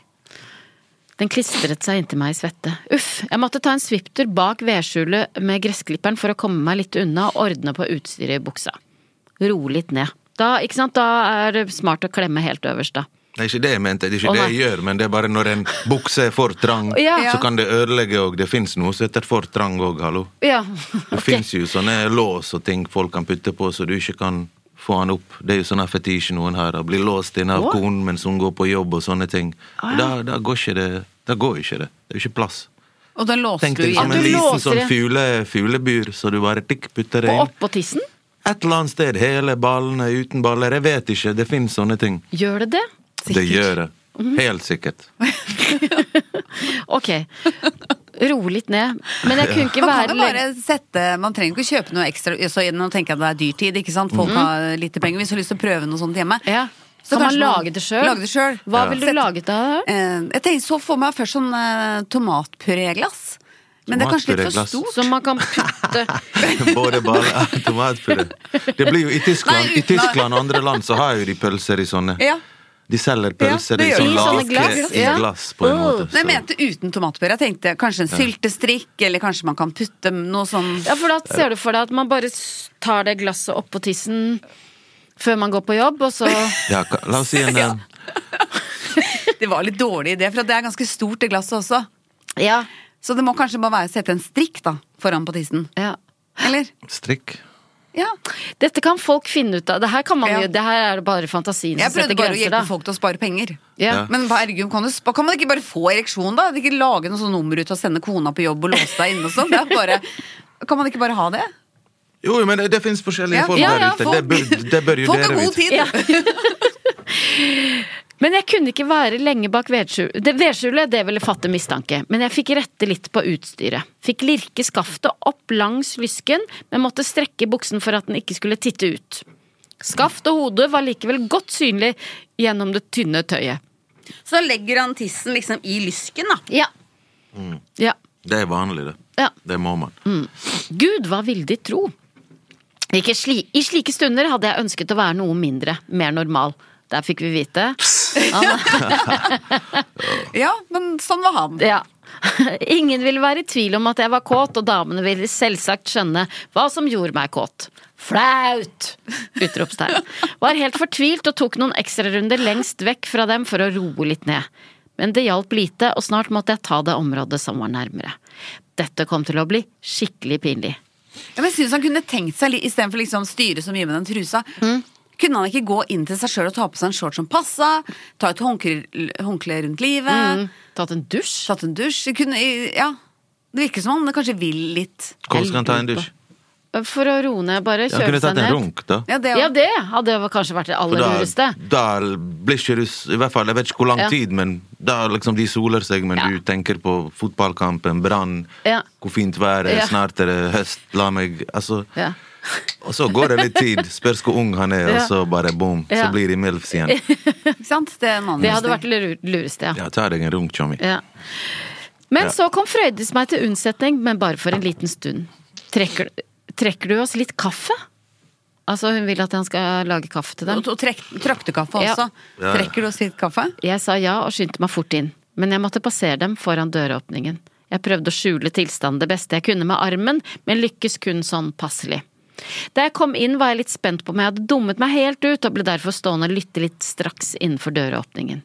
B: Den klistret seg inntil meg i svette. Uff, jeg måtte ta en sviptur bak vedskjulet med gressklipperen for å komme meg litt unna og ordne på utstyret i buksa. Roe litt ned. Da, ikke sant, da er det smart å klemme helt øverst, da.
D: Det er ikke det jeg mente, det er ikke
B: Å,
D: det
B: nei.
D: jeg gjør, men det er bare når en bukse er for trang,
B: Ja.
D: så kan det ødelegge òg. Det fins noe som heter for trang òg, hallo.
B: Ja.
D: Det finnes fins jo sånne lås og ting folk kan putte på, så du ikke kan få han opp. Det er jo sånne fetisj noen har. Blir låst inne av
B: Å.
D: konen mens hun går på jobb og sånne ting.
B: Ah,
D: Og da, da går ikke det. Da går ikke det. Det er jo ikke plass.
A: Og da låste
D: Tenk
A: du
D: deg
B: igjen.
D: som en
B: Du
D: liten
B: låser
D: sånn
B: det.
D: fugle, fuglebur, så du bare tikk putter det
B: Og
D: inn.
B: oppå tissen?
D: Et eller annet sted. Hele ballene, uten baller. Jeg vet ikke. Det fins sånne ting.
B: Gjør det det?
D: Det gjør det.
B: Mhm.
D: Helt sikkert.
B: Ok. Ro litt ned. Men jeg kunne ikke
A: Man kan
B: være
A: jo bare sette Man trenger ikke å kjøpe noe ekstra. Så nå tenker jeg at det er dyrtid, ikke sant. Folk har lite penger. Hvis du har lyst til å prøve noe sånt hjemme.
B: Mm. Ja.
A: Så
B: kan man
A: kanskje
B: lage det sjøl?
A: Lage det selv.
B: Hva ville
A: Sette-
B: du laget av det?
A: Eh, Jeg tenker så for meg først sånn eh, tomatpuréglass. Men det er kanskje litt for
D: Tomatpuréglass.
A: stort.
B: Som man kan putte
D: *laughs* Både baller og tomatpuré. Det blir jo I Tyskland,
A: Nei, uten-
D: i Tyskland og andre land så har jo de pølser i sånne.
A: Ja.
D: De selger pølser
A: det
D: i
A: gjør
D: sånn
A: de. I sånne
D: lake
A: glass,
D: i
B: ja.
D: glass, på en
B: Åh.
D: måte.
A: Nei, jeg
D: Så.
A: mente uten tomatpuré. Jeg tenkte kanskje en syltestrikk, eller kanskje man kan putte noe sånn
B: Ja, for da ser du for deg at man bare s- tar det glasset oppå tissen før man går på jobb, og så
D: Ja, ka- la oss si en eh,
A: Det var litt dårlig idé, for det er ganske stort, det glasset også.
B: Ja.
A: Så det må kanskje bare være å sette en strikk da, foran på tissen.
B: ja.
A: Eller?
D: strikk.
A: Ja.
B: Dette kan folk finne ut av. Det her, kan man
A: Ja.
B: jo, det her er det bare fantasien
A: Jeg
B: som
A: prøvde
B: setter
A: bare å
B: grenser,
A: hjelpe
B: da.
A: folk til å spare penger.
B: Ja.
D: Ja.
A: Men herregud, kan, du, spa- kan man ikke bare få ereksjon, da? Ikke lage noe sånn nummer ut og sende kona på jobb og låse deg inne og sånn. Det er bare Kan man ikke bare ha det?
D: Jo, men det, det fins forskjellige
A: Ja.
D: folk
B: Ja,
D: der
B: ja,
D: ute. Det bør, det bør jo
A: Folk har
D: dere
A: god
D: vite.
A: tid!
B: Men jeg kunne ikke være lenge bak vedskjulet. Det Vedskjulet det ville fatte mistanke, men jeg fikk rette litt på utstyret. Fikk lirke skaftet opp langs lysken, men måtte strekke buksen for at den ikke skulle titte ut. Skaft og hode var likevel godt synlig gjennom det tynne tøyet.
A: Så legger han tissen liksom i lysken, da.
B: Ja. Ja.
D: Det er vanlig, det.
B: Ja.
D: Det må man.
A: Mm.
B: Gud, hva ville de tro? Ikke sli I slike stunder hadde jeg ønsket å være noe mindre, mer normal. Der fikk vi vite.
A: Ja, men sånn var han.
B: Ja. *laughs* Ingen ville være i tvil om at jeg var kåt, og damene ville selvsagt skjønne hva som gjorde meg kåt. Flaut! Utropstegn. Var helt fortvilt og tok noen ekstrarunder lengst vekk fra dem for å roe litt ned. Men det hjalp lite, og snart måtte jeg ta det området som var nærmere. Dette kom til å bli skikkelig pinlig.
A: Ja, men jeg synes han kunne tenkt seg litt, istedenfor liksom styre så mye med den trusa. Kunne han ikke gå inn til seg sjøl og ta på seg en shorts som passa? Ta et håndkle, håndkle rundt livet?
B: Tatt en dusj?
A: Tatt en dusj? Kunne, ja. Det virker som han kanskje vil litt.
D: Hvordan skal han ta en
B: lurer
D: dusj?
B: For å roe ned, bare
D: Han kunne
B: kjøle seg
D: tatt en
B: ned.
D: runk, da.
A: Ja, det,
B: Ja, det hadde kanskje vært det
D: For
B: aller
D: da,
B: lureste.
D: da blir ikke du s- I hvert fall, jeg vet ikke hvor lang
B: Ja.
D: tid, men da liksom de soler seg, men
B: Ja.
D: du tenker på fotballkampen, Brann,
B: Ja.
D: hvor fint været,
B: Ja.
D: snart er det høst, la meg Altså.
B: Ja.
D: Og så går det litt tid, spørs hvor ung han er, og
B: Ja.
D: så bare boom,
B: *laughs* Ja.
D: så blir de MILFs igjen.
A: Ikke sant? Det er en annen
B: Det hadde vært det
A: løsning.
B: lur- lureste, ja.
D: Ja, ta deg en runk, Tjommi.
B: Ja. Men
D: Ja.
B: så kom Frøydis meg til unnsetning, men bare for en liten stund. Trekker, trekker du oss litt kaffe? Altså, hun vil at han skal lage kaffe til dem.
A: Og, og trekk- traktekaffe
B: Ja.
A: også.
D: Ja.
A: Trekker du oss litt kaffe?
B: Jeg sa ja og skyndte meg fort inn, men jeg måtte passere dem foran døråpningen. Jeg prøvde å skjule tilstanden det beste jeg kunne med armen, men lykkes kun sånn passelig. Da jeg kom inn var jeg litt spent på om jeg hadde dummet meg helt ut, og ble derfor stående og lytte litt straks innenfor døråpningen.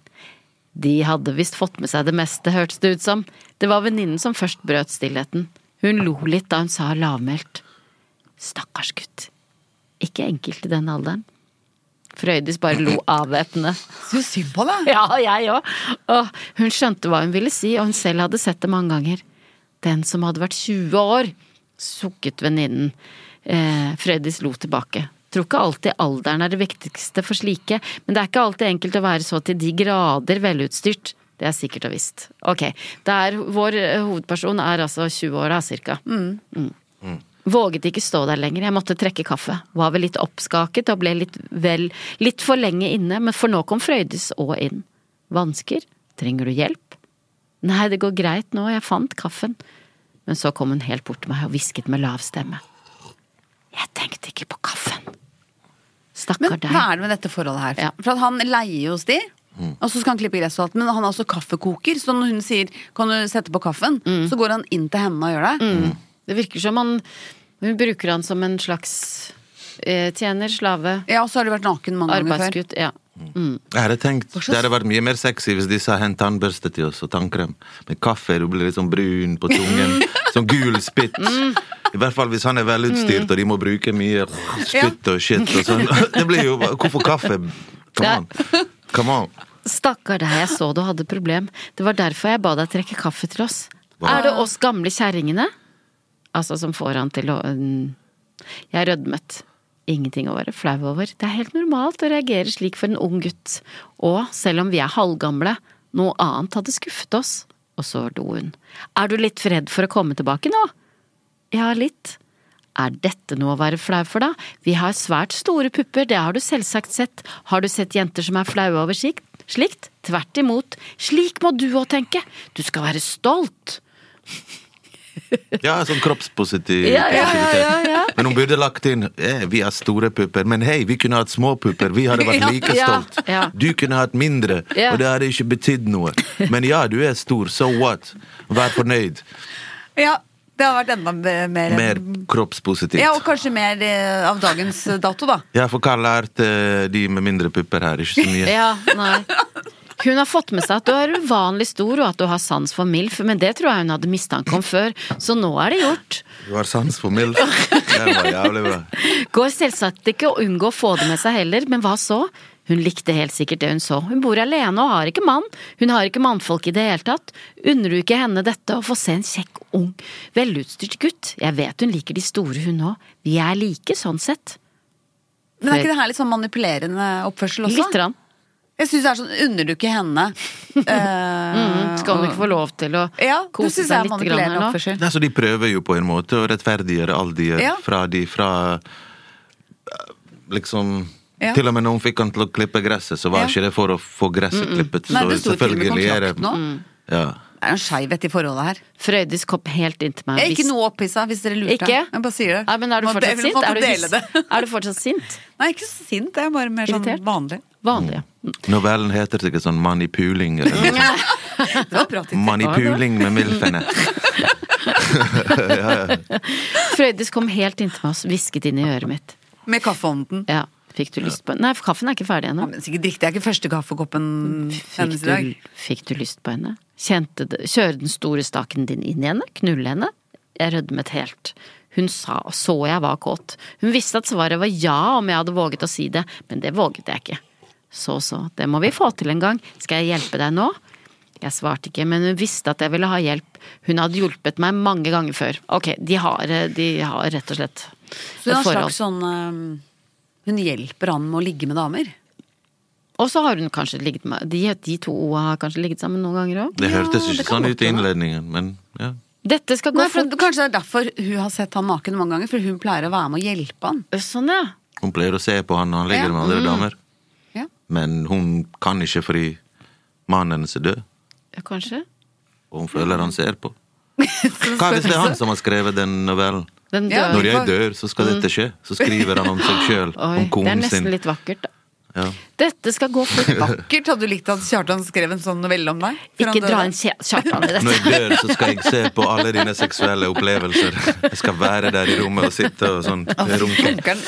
B: De hadde visst fått med seg det meste, hørtes det ut som. Det var venninnen som først brøt stillheten. Hun lo litt da hun sa lavmælt. Stakkars gutt. Ikke enkelt i den alderen. Frøydis bare lo avvæpnende.
A: Så synd på deg!
B: *laughs* Ja, jeg òg. Og hun skjønte hva hun ville si, og hun selv hadde sett det mange ganger. Den som hadde vært 20 år, sukket venninnen. Eh, Frøydis lo tilbake. Tror ikke alltid alderen er det viktigste for slike, men det er ikke alltid enkelt å være så til de grader velutstyrt. Det er sikkert og visst. Ok, det er, Vår eh, hovedperson er altså 20 år da, cirka. Mm. Våget ikke stå der lenger, jeg måtte trekke kaffe. Var vel litt oppskaket og ble litt vel litt for lenge inne, men for nå kom Frøydis òg inn. Vansker? Trenger du hjelp? Nei, det går greit nå, jeg fant kaffen. Men så kom hun helt bort til meg og hvisket med lav stemme. Jeg tenkte ikke på kaffen.
A: Men
B: Stakkar deg.
A: hva er det med dette forholdet her?
B: Ja.
A: For at han leier jo hos de, og så skal han klippe gress og alt, men han er også kaffekoker, så når hun sier 'kan du sette på kaffen',
B: Mm.
A: så går han inn til henne og gjør det.
B: Det virker som han Hun bruker han som en slags eh, tjener, slave,
A: Ja, og så har du vært naken mange ganger før.
B: arbeidsgutt. Ja.
D: Jeg hadde tenkt,
A: Mm. Hva slags-
D: Det hadde vært mye mer sexy hvis de sa 'hent tannbørste til oss' og tannkrem. Med kaffe, du blir litt sånn brun på
A: *laughs*
D: tungen. sånn gul spytt.
A: Mm.
D: I hvert fall hvis han er velutstyrt og de må bruke mye spytt og shit og sånn. *laughs* Det blir jo Hvorfor kaffe? Come on. Come on.
B: Stakkar deg, jeg så du hadde problem. Det var derfor jeg ba deg trekke kaffe til oss. Er det oss gamle kjerringene? Altså som får han til å mm, Jeg er rødmet. Ingenting å være flau over. Det er helt normalt å reagere slik for en ung gutt. Og selv om vi er halvgamle, noe annet hadde skuffet oss. Og så lo hun. Er du litt redd for å komme tilbake nå? Ja, litt. Er dette noe å være flau for, da? Vi har svært store pupper, det har du selvsagt sett. Har du sett jenter som er flaue over sikt? slikt? Tvert imot. Slik må du òg tenke. Du skal være stolt.
D: Ja, sånn kroppspositiv
B: Ja, ja, ja,
D: aktivitet.
B: ja, ja.
D: Men hun burde lagt inn eh, 'vi har store pupper', men hei, vi kunne hatt små pupper. Vi hadde vært like
B: *laughs* Ja,
D: stolt.
B: ja.
D: Du kunne hatt mindre,
B: Ja.
D: og det hadde ikke betydd noe. Men ja, du er stor, so what? Vær fornøyd.
A: Ja, det har vært enda mer,
D: Mer kroppspositivt.
A: Ja, og kanskje mer eh, av dagens
B: *laughs*
A: dato, da.
D: Ja, for hva lærte eh, de med mindre pupper her? Ikke så mye.
B: Ja, nei. Hun har fått med seg at du er uvanlig stor, og at du har sans for MILF, men det tror jeg hun hadde mistanke om før, så nå er det gjort.
D: Du har sans for
B: *laughs*
D: milf. Det var jævlig bra.
B: Går selvsagt ikke å unngå å få det med seg heller, men hva så? Hun likte helt sikkert det hun så. Hun bor alene og har ikke mann. Hun har ikke mannfolk i det hele tatt. Unner du ikke henne dette å få se en kjekk, ung, velutstyrt gutt? Jeg vet hun liker de store, hun òg. Vi er like sånn sett.
A: Men er ikke det her litt sånn manipulerende oppførsel også?
B: Litt. Rann.
A: Jeg syns det er sånn Unner du ikke henne?
B: *laughs*
A: Eh,
B: Skal hun ikke få lov til å
A: ja, det
B: kose
A: syns jeg
B: seg
A: er
B: litt grann her
A: manipulerende
B: nå?
A: oppførsel.
D: Nei, så de prøver jo på en måte å rettferdiggjøre alt de gjør
A: Ja.
D: fra de fra eh, Liksom
A: Ja.
D: Til og med når hun fikk han til å klippe gresset, så var
A: Ja.
D: ikke det for å få gresset klippet.
A: Nei,
D: så
A: det sto til og med i
D: selvfølgelig er
A: kontrakt
D: det
A: nå.
B: Mm.
D: ja.
A: Det er en skeivhet i forholdet her.
B: Frøydis kopp helt inntil meg.
A: Jeg er ikke
B: Hvis-
A: noe opphissa, hvis dere lurte.
B: Ikke?
A: Jeg bare sier det.
B: Nei, men er du
A: Man
B: fortsatt
A: deler-
B: sint?
A: man får
B: Er du,
A: dele det.
B: er du fortsatt sint?
A: *laughs* Nei, ikke så sint. Det er bare mer sånn
B: Irritert?
A: vanlig.
B: Vanlig, ja.
D: Novellen heter sikkert sånn Manipuling. Eller noe sånt.
A: Det var bra tidsel.
D: Manipuling med milfene.
B: Frøydis kom helt inntil meg og hvisket inn i øret mitt.
A: Med kaffeånden.
B: Ja, fikk du lyst på en Nei, for kaffen er ikke ferdig
A: Ja,
B: ennå.
A: men sikkert riktig. Det er ikke første kaffekoppen
B: Fikk
A: hennes i dag.
B: du, fikk du lyst på henne? Kjente det Kjøre den store staken din inn i henne? Knulle henne? Jeg rødmet helt. Hun sa, så jeg var kåt. Hun visste at svaret var ja om jeg hadde våget å si det, men det våget jeg ikke. Så så, det må vi få til en gang. Skal jeg hjelpe deg nå? Jeg svarte ikke, men hun visste at jeg ville ha hjelp. Hun hadde hjulpet meg mange ganger før. Ok, de har, eh, de har rett og slett
A: Så hun
B: et
A: har en
B: forhold.
A: slags sånn ehm, Hun hjelper han med å ligge med damer.
B: Og så har hun kanskje ligget med De, de to har kanskje ligget sammen noen ganger òg.
D: Det
A: Ja,
D: hørtes
A: det
D: ikke
A: kan
D: sånn
A: godt
D: ut i
A: hende.
D: innledningen, men ja.
B: Dette skal gå
A: Nei, for,
B: fort.
A: kanskje det er derfor hun har sett han naken mange ganger, for hun pleier å være med å hjelpe han.
B: Sånn, ja.
D: Hun pleier å se på han når han ligger
A: Ja. Mm.
D: med andre damer.
A: Ja.
D: Men hun kan ikke fordi mannen hennes er død,
B: ja. Kanskje.
D: og hun føler han ser på. Hva hvis det er han som har skrevet den novellen?
B: Den
A: Ja,
B: dør.
D: Når jeg dør, så skal dette skje. Så skriver han om seg sjøl,
B: *laughs* Oi,
D: om
B: det er
D: konen sin.
B: nesten litt vakkert, da.
D: Ja.
B: Dette skal gå
D: *laughs*
B: fort.
A: Vakkert hadde du likt at Kjartan skrev en sånn novelle om deg? før
B: Ikke
A: han døde?
B: dra en kje- Kjartan i
D: Når
B: dette.
D: jeg dør, så skal jeg se
B: *laughs*
D: på alle dine seksuelle opplevelser. Jeg skal være der i rommet og sitte og sånn runke.
A: Runkeren.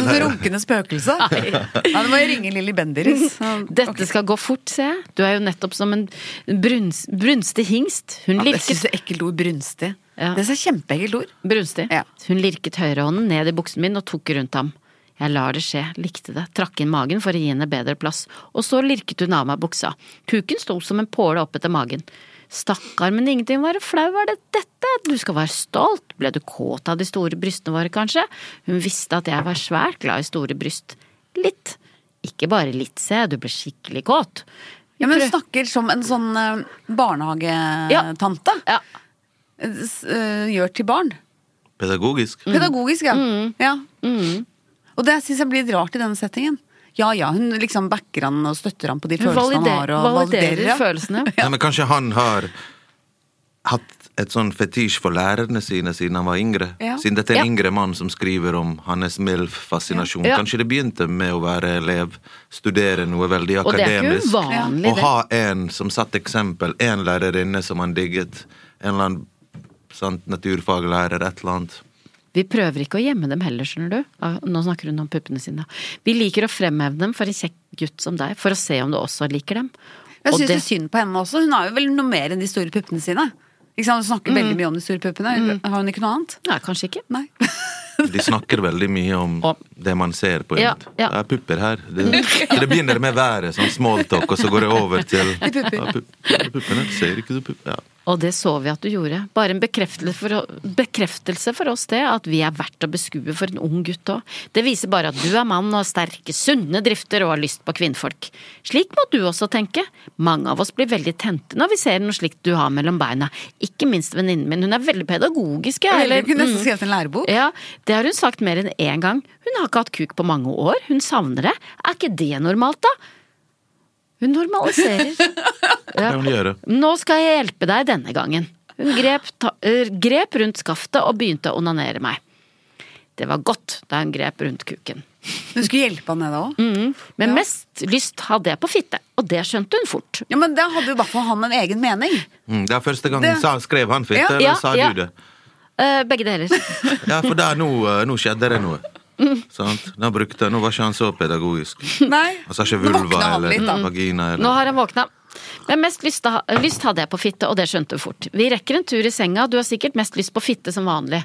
A: Noen runkende spøkelse. Ja, nå må jeg ringe Lilly Bendriss. *laughs*
B: Dette skal gå fort, ser jeg. Du er jo nettopp som en bruns, brunstig hingst. Hun
A: Ja, jeg
B: lirket
A: syns det er ekkelt ord. Brunstig.
B: Ja.
A: Det er et kjempeekkelt ord.
B: Brunstig.
A: Ja.
B: Hun lirket høyrehånden ned i buksen min og tok rundt ham. Jeg lar det skje, likte det, trakk inn magen for å gi henne bedre plass, og så lirket hun av meg buksa. Kuken sto som en påle opp etter magen. Stakkar, men ingenting å være flau er det dette, du skal være stolt, ble du kåt av de store brystene våre, kanskje? Hun visste at jeg var svært glad i store bryst. Litt. Ikke bare litt, se, du ble skikkelig kåt.
A: Ja, men hun snakker som en sånn eh, barnehagetante
B: Ja,
A: S- eh, gjør til barn.
D: Pedagogisk.
A: Mm. Pedagogisk, ja. ja. Mm. Og det syns jeg blir litt rart i denne settingen. Ja ja, hun liksom backer han og støtter han på de
B: hun
A: følelsene han
B: valider,
A: har. Og
B: validerer
A: ja.
B: følelsene.
D: Nei, men kanskje han har hatt et sånn fetisj for lærerne sine siden han var yngre.
A: Ja.
D: Siden dette er en
B: Ja.
D: yngre mann som skriver om hans MILF-fascinasjon.
B: Ja. Ja.
D: Kanskje det begynte med å være elev, studere noe veldig
B: Og det er ikke
D: akademisk.
B: uvanlig,
D: Og
B: det.
D: ha en som satt eksempel, en lærerinne som han digget. En eller annen sant, naturfaglærer, et eller annet.
B: Vi prøver ikke å gjemme dem heller, skjønner du. Ah, Nå snakker hun om puppene sine. Vi liker å fremheve dem for en kjekk gutt som deg, for å se om du også liker dem.
A: Jeg
B: Og
A: syns det...
B: det-
A: er synd på henne også. Hun har jo vel noe mer enn de store puppene sine. Ikke sant? Hun snakker veldig mye om de store puppene. Har hun ikke noe annet?
B: Nei, kanskje ikke.
A: Nei.
D: De snakker veldig mye om
B: Om.
D: det man ser på.
B: Ja,
D: internett.
B: ja.
D: Det er pupper her. Det, det begynner med været, sånn smalltalk, og så går det over til ja, pup, Puppene ser ikke så pupp... Ja.
B: Og det så vi at du gjorde. Bare en bekreftelse for, bekreftelse for oss det, at vi er verdt å beskue for en ung gutt òg. Det viser bare at du er mann og har sterke, sunne drifter og har lyst på kvinnfolk. Slik må du også tenke. Mange av oss blir veldig tente når vi ser noe slikt du har mellom beina. Ikke minst venninnen min, hun er veldig pedagogisk. jeg,
A: Eller, *laughs* hun kunne nesten
B: mm.
A: skrevet en lærebok.
B: Ja, det har hun sagt mer enn én gang. Hun har ikke hatt kuk på mange år, hun savner det. Er ikke det normalt, da? Hun normaliserer.
A: *laughs*
D: Det kan de gjøre.
B: Nå skal jeg hjelpe deg denne gangen. Hun grep, ta, eh, grep rundt skaftet og begynte å onanere meg. Det var godt da hun grep rundt kuken.
A: Hun skulle hjelpe han med det òg.
B: Men
A: Ja.
B: mest lyst hadde jeg på fitte, og det skjønte hun fort.
A: Ja, men da hadde jo i hvert fall han en egen mening.
D: Mm, det er første gang
A: Det-
D: sa, skrev han fitte,
A: Ja.
D: eller
B: Ja,
D: sa
B: ja.
D: du det?
B: Eh, begge
A: *laughs*
B: deler.
D: Ja, for da, nå, eh, nå skjedde det noe.
B: Mm.
D: Sant? Nå, brukte, nå var ikke han så pedagogisk.
A: Nei.
D: Han sa ikke
A: Nå våkna
D: vulva Mm.
A: han
D: eller
A: litt, da.
D: vagina
B: Nå
D: eller
B: har han våkna. Men mest lyst, da- lyst hadde jeg på fitte, og det skjønte hun fort. Vi rekker en tur i senga, du har sikkert mest lyst på fitte som vanlig,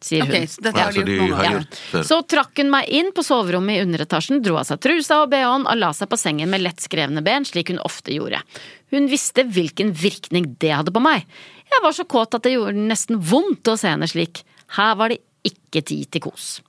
B: sier hun.
A: Ok, så dette
D: Ja,
A: har
D: så
A: de
D: de
A: gjort
D: har
A: noen
D: gjort før.
B: Så trakk hun meg inn på soverommet i underetasjen, dro av seg trusa og bh-en og la seg på sengen med lettskrevne ben, slik hun ofte gjorde. Hun visste hvilken virkning det hadde på meg. Jeg var så kåt at det gjorde nesten vondt å se henne slik. Her var det ikke tid til kos.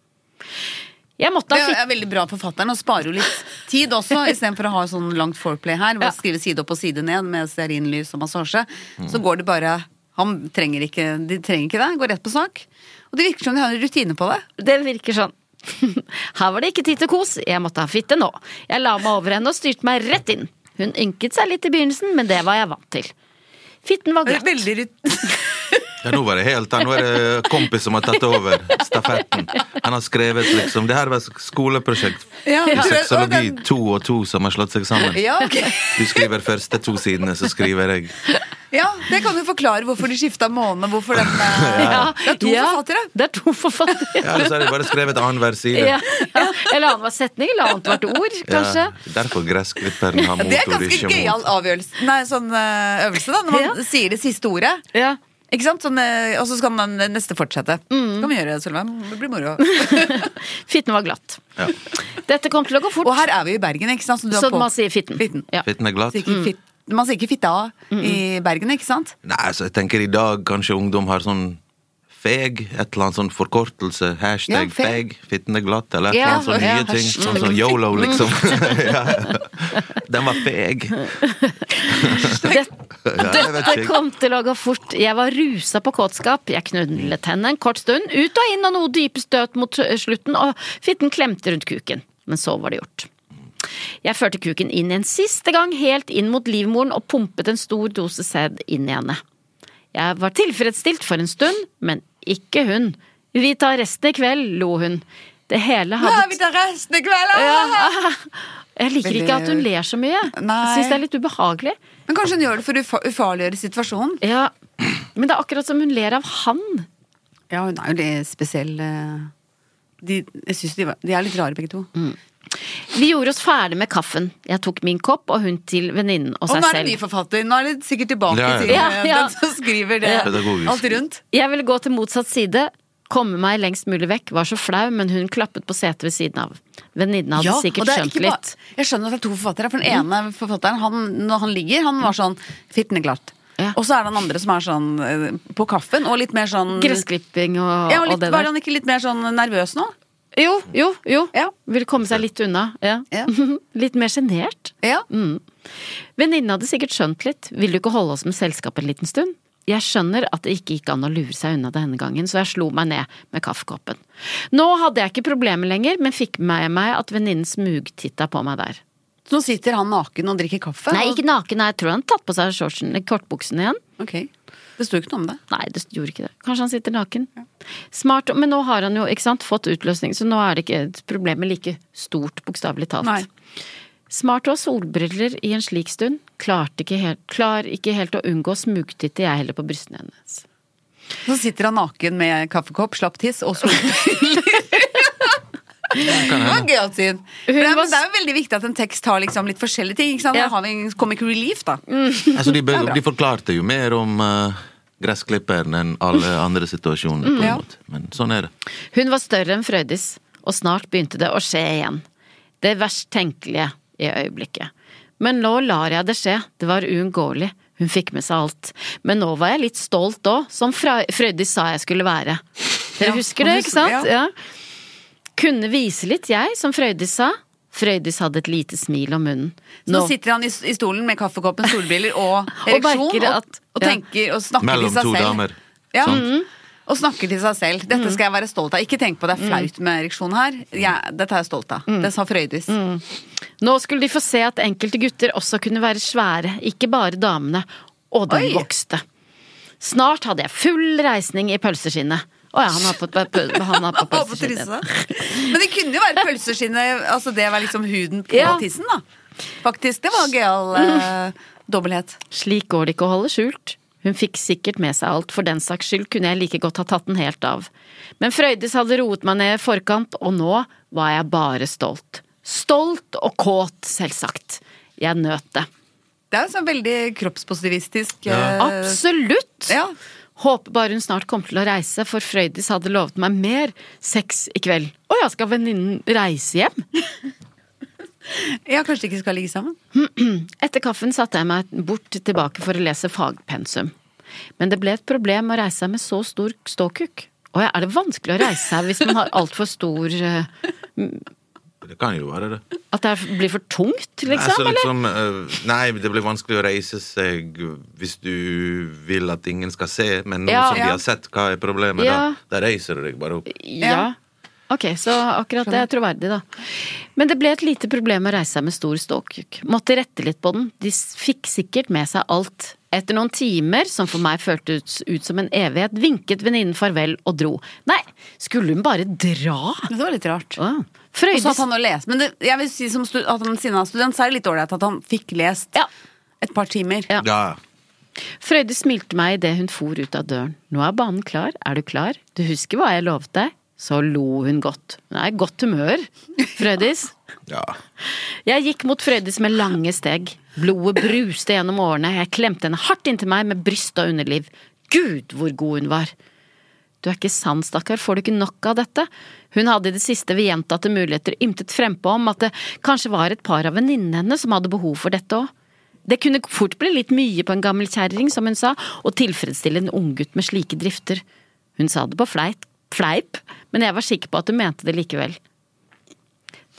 B: Jeg måtte
A: Det
B: ha fikk...
A: er veldig bra av forfatteren, og sparer jo litt tid også. Istedenfor å ha sånn langt foreplay her, hvor
B: Ja.
A: ja. skrive side opp og side ned med stearinlys og massasje, så går det bare Han trenger ikke De trenger ikke det. Går rett på sak. Og det virker som de har en rutine på det.
B: Det virker sånn. *laughs* Her var det ikke tid til kos, jeg måtte ha fitte nå. Jeg la meg over henne og styrte meg rett inn. Hun ynket seg litt i begynnelsen, men det var jeg vant til. Fitten var glatt.
A: Veldig rut
D: ja, Nå var det helt Nå er det kompis som har tatt over stafetten. Han har skrevet liksom Det her var et skoleprosjekt
A: Ja, du
D: i
A: vet, og
D: sexologi.
A: den-
D: To og to som har slått seg
A: *laughs*
D: sammen.
A: ja, ok.
D: Du skriver første to sidene, så skriver jeg.
A: ja, det kan jo forklare hvorfor de skifta måne, hvorfor den eh, Det er
B: *laughs*
A: to
B: Ja,
A: forfattere.
B: Det er to forfattere.
D: Ja, Eller så har jeg bare skrevet annenhver side.
B: Ja, ja. Eller annenhver setning, eller annethvert ord,
D: Ja,
B: kanskje.
D: derfor gressklipperen har
A: Det er
D: motor,
A: ganske
D: ikke
A: gøyal
D: motor.
A: avgjørelse Nei, sånn eh, øvelse, da. Når man
B: Ja.
A: sier det siste ordet.
B: Ja.
A: Ikke sant? Sånn, eh, og så skal man eh, neste fortsette.
B: Mm.
A: Skal vi gjøre det, Sølveig? Det blir moro. *laughs*
B: *laughs* Fitten var glatt. Dette kom til å gå fort,
A: Og her er vi jo i Bergen, ikke sant? du er
B: så
A: på.
B: man sier fitten.
A: Fitten.
B: Ja. Mm.
D: Fitten er glatt.
A: Så ikke fit, man sier ikke fitta i Bergen, ikke sant?
D: Nei, så jeg tenker i dag kanskje ungdom har sånn feg, et eller annet sånn forkortelse, hashtag
A: Ja, feg.
D: feg, fitten er glatt, eller et
B: Ja,
D: eller annet sånn
B: ja, Mm.
D: nye ting.
B: hashtag.
D: Sånn som yolo,
B: *laughs*
D: liksom. *laughs* ja. Den var feg.
B: Det,
D: Ja, jeg vet
B: dette
D: ikke.
B: kom til å gå fort. Jeg var rusa på kåtskap. Jeg knullet henne en kort stund, ut og inn og noe dype støt mot slutten, og fitten klemte rundt kuken. Men så var det gjort. Jeg førte kuken inn en siste gang, helt inn mot livmoren, og pumpet en stor dose sæd inn i henne. Jeg var tilfredsstilt for en stund, men ikke hun. Vi tar resten i kveld, lo hun. Det hele
A: Nei,
B: hadde
A: vi tar resten i kveld! ah!
B: *laughs* Jeg liker ikke at hun ler så mye. Jeg
A: Nei.
B: syns det er litt ubehagelig.
A: Men kanskje hun gjør det for å ufa- ufarliggjøre situasjonen?
B: Ja, men det er akkurat som hun ler av han.
A: Ja, hun er jo litt spesiell. eh, De, jeg synes de, var- de er litt rare, begge to.
B: Mm, Vi gjorde oss ferdig med kaffen. Jeg tok min kopp og hun til venninnen og
A: Og
B: seg
A: nå er det en ny
B: selv.
A: forfatter. Nå er det sikkert tilbake
D: Ja, ja.
A: til
B: Ja,
A: eh,
B: ja.
A: den som skriver det.
B: Ja.
D: Pedagogisk.
A: Alt rundt.
B: Jeg ville gå til motsatt side, komme meg lengst mulig vekk, var så flau, men hun klappet på setet ved siden av. Venninnen hadde
A: og
B: sikkert
A: det er
B: skjønt
A: ikke bare-
B: litt. Mm.
A: Jeg skjønner at det er to forfattere. For den ene forfatteren, han, når han ligger, han var sånn Fitten er glatt.
B: Ja.
A: Og så er det den andre som er sånn eh, på kaffen, og litt mer sånn
B: Gressklipping og,
A: Ja,
B: og
A: og litt,
B: det
A: Var
B: der.
A: han ikke litt mer sånn nervøs nå?
B: Jo, jo, jo.
A: Ja.
B: Ville komme seg litt unna. Ja.
A: Ja.
B: *laughs* litt mer sjenert.
A: Ja.
B: Venninnen hadde sikkert skjønt litt. Vil du ikke holde oss med selskap en liten stund? Jeg skjønner at det ikke gikk an å lure seg unna denne gangen, så jeg slo meg ned med kaffekoppen. Nå hadde jeg ikke problemer lenger, men fikk med meg at venninnen smugtitta på meg der.
A: Så nå sitter han naken og drikker kaffe?
B: Nei,
A: og-
B: ikke naken, nei, jeg tror han tatt på seg shortsen, kortbuksen igjen.
A: Ok. Det sto ikke noe om det.
B: Nei, det gjorde ikke det. Kanskje han sitter naken. Smart, men nå har han jo ikke sant, fått utløsning, så nå er det ikke problemet like stort, bokstavelig talt.
A: Nei.
B: Smart å ha solbriller i en slik stund. Klarte ikke helt, klar ikke helt å unngå smugtitte jeg heller på brystene hennes.
A: Så sitter han naken med kaffekopp, slapp tiss og solbriller. Det var gøyalt syn. For Det
B: var
A: er, men
B: s-
A: det er jo veldig viktig at en tekst har liksom litt forskjellige ting. Ikke sant?
B: Ja.
A: Da har vi en comic relief, da.
D: Altså, de, be,
A: bra.
D: de forklarte jo mer om eh, gressklipperen enn alle andre situasjoner.
B: Mm,
D: på en
A: Ja.
D: måte. Men sånn er det.
B: Hun var større enn Frøydis, og snart begynte det å skje igjen. Det verst tenkelige i øyeblikket. Men nå lar jeg det skje, det var uunngåelig. Hun fikk med seg alt. Men nå var jeg litt stolt òg, som Fra- Frøydis sa jeg skulle være. Dere
A: Ja,
B: husker
A: han
B: det,
A: husker-
B: ikke sant?
A: ja.
B: Ja. Kunne vise litt, jeg, som Frøydis sa. Frøydis hadde et lite smil om munnen.
A: Så nå sitter han i, i stolen med kaffekoppen, solbriller
B: *laughs*
A: og ereksjon, og,
B: merker at-
A: og,
B: ja. Mm.
A: tenker og snakker
D: Mellom
A: til seg
D: to
A: selv.
D: damer.
A: Ja.
D: Sant?
A: Og snakker til seg selv. Dette skal jeg være stolt av. Ikke tenk på det
B: Mm.
A: er flaut med ereksjon her. Jeg- dette er jeg stolt av. Det sa Frøydis.
B: Mm. Nå skulle de få se at enkelte gutter også kunne være svære, ikke bare damene. Og den
A: Oi.
B: vokste. Snart hadde jeg full reisning i pølseskinnet. Å ja, han har på, på,
A: *laughs*
B: på, han har på
A: Og på
B: pølseskinnet.
A: trusa. *laughs* Men det kunne jo være pølseskinnet, altså det var liksom huden på
B: Ja. Mm.
A: tissen, da. Faktisk. Det var en gøyal eh, dobbelthet.
B: Slik går det ikke å holde skjult. Hun fikk sikkert med seg alt, for den saks skyld kunne jeg like godt ha tatt den helt av. Men Frøydis hadde roet meg ned i forkant, og nå var jeg bare stolt. Stolt og kåt, selvsagt. Jeg nøt det.
A: Det er jo sånn veldig kroppspositivistisk. eh,
B: Absolutt!
A: ja.
B: Håper bare hun snart kommer til å reise, for Frøydis hadde lovet meg mer sex i kveld. Å ja, skal venninnen reise hjem?
A: ja, kanskje de ikke skal ligge sammen.
B: Etter kaffen satte jeg meg bort tilbake for å lese fagpensum. Men det ble et problem å reise seg med så stor ståkuk. Å ja, er det vanskelig å reise seg hvis man har altfor stor eh,
D: Det kan jo være det.
B: At det er- blir for tungt, liksom?
D: altså,
B: Eller?
D: liksom eh, nei, det blir vanskelig å reise seg hvis du vil at ingen skal se, men nå
B: Ja.
D: som de
A: Ja.
D: har sett hva er problemet,
B: Ja.
D: da, da reiser du deg bare opp.
B: Ja. Ok, så akkurat det er troverdig, da. Men det ble et lite problem å reise seg med stor ståkuk. Måtte rette litt på den. De s- fikk sikkert med seg alt. Etter noen timer, som for meg føltes ut som en evighet, vinket venninnen farvel og dro. Nei, skulle hun bare dra?
A: Det var litt rart.
B: Wow.
A: Og så
B: Frøydis
A: at han har lest. Men det, jeg vil si som stu- at han, siden han er student, så er det litt ålreit at han fikk lest
B: Ja.
A: et par timer.
B: Ja.
D: Ja.
B: Frøyde smilte meg idet hun for ut av døren. Nå er banen klar, er du klar? Du husker hva jeg lovet deg? Så lo hun godt. Hun er i godt humør, Frøydis.
D: ja.
B: Jeg gikk mot Frøydis med lange steg. Blodet bruste gjennom årene. Jeg klemte henne hardt inntil meg med bryst og underliv. Gud, hvor god hun var! Du er ikke sann, stakkar, får du ikke nok av dette? Hun hadde i det siste ved gjentatte muligheter ymtet frempå om at det kanskje var et par av venninnene hennes som hadde behov for dette òg. Det kunne fort bli litt mye på en gammel kjerring, som hun sa, å tilfredsstille en unggutt med slike drifter. Hun sa det på fleit, fleip, men jeg var sikker på at hun mente det likevel.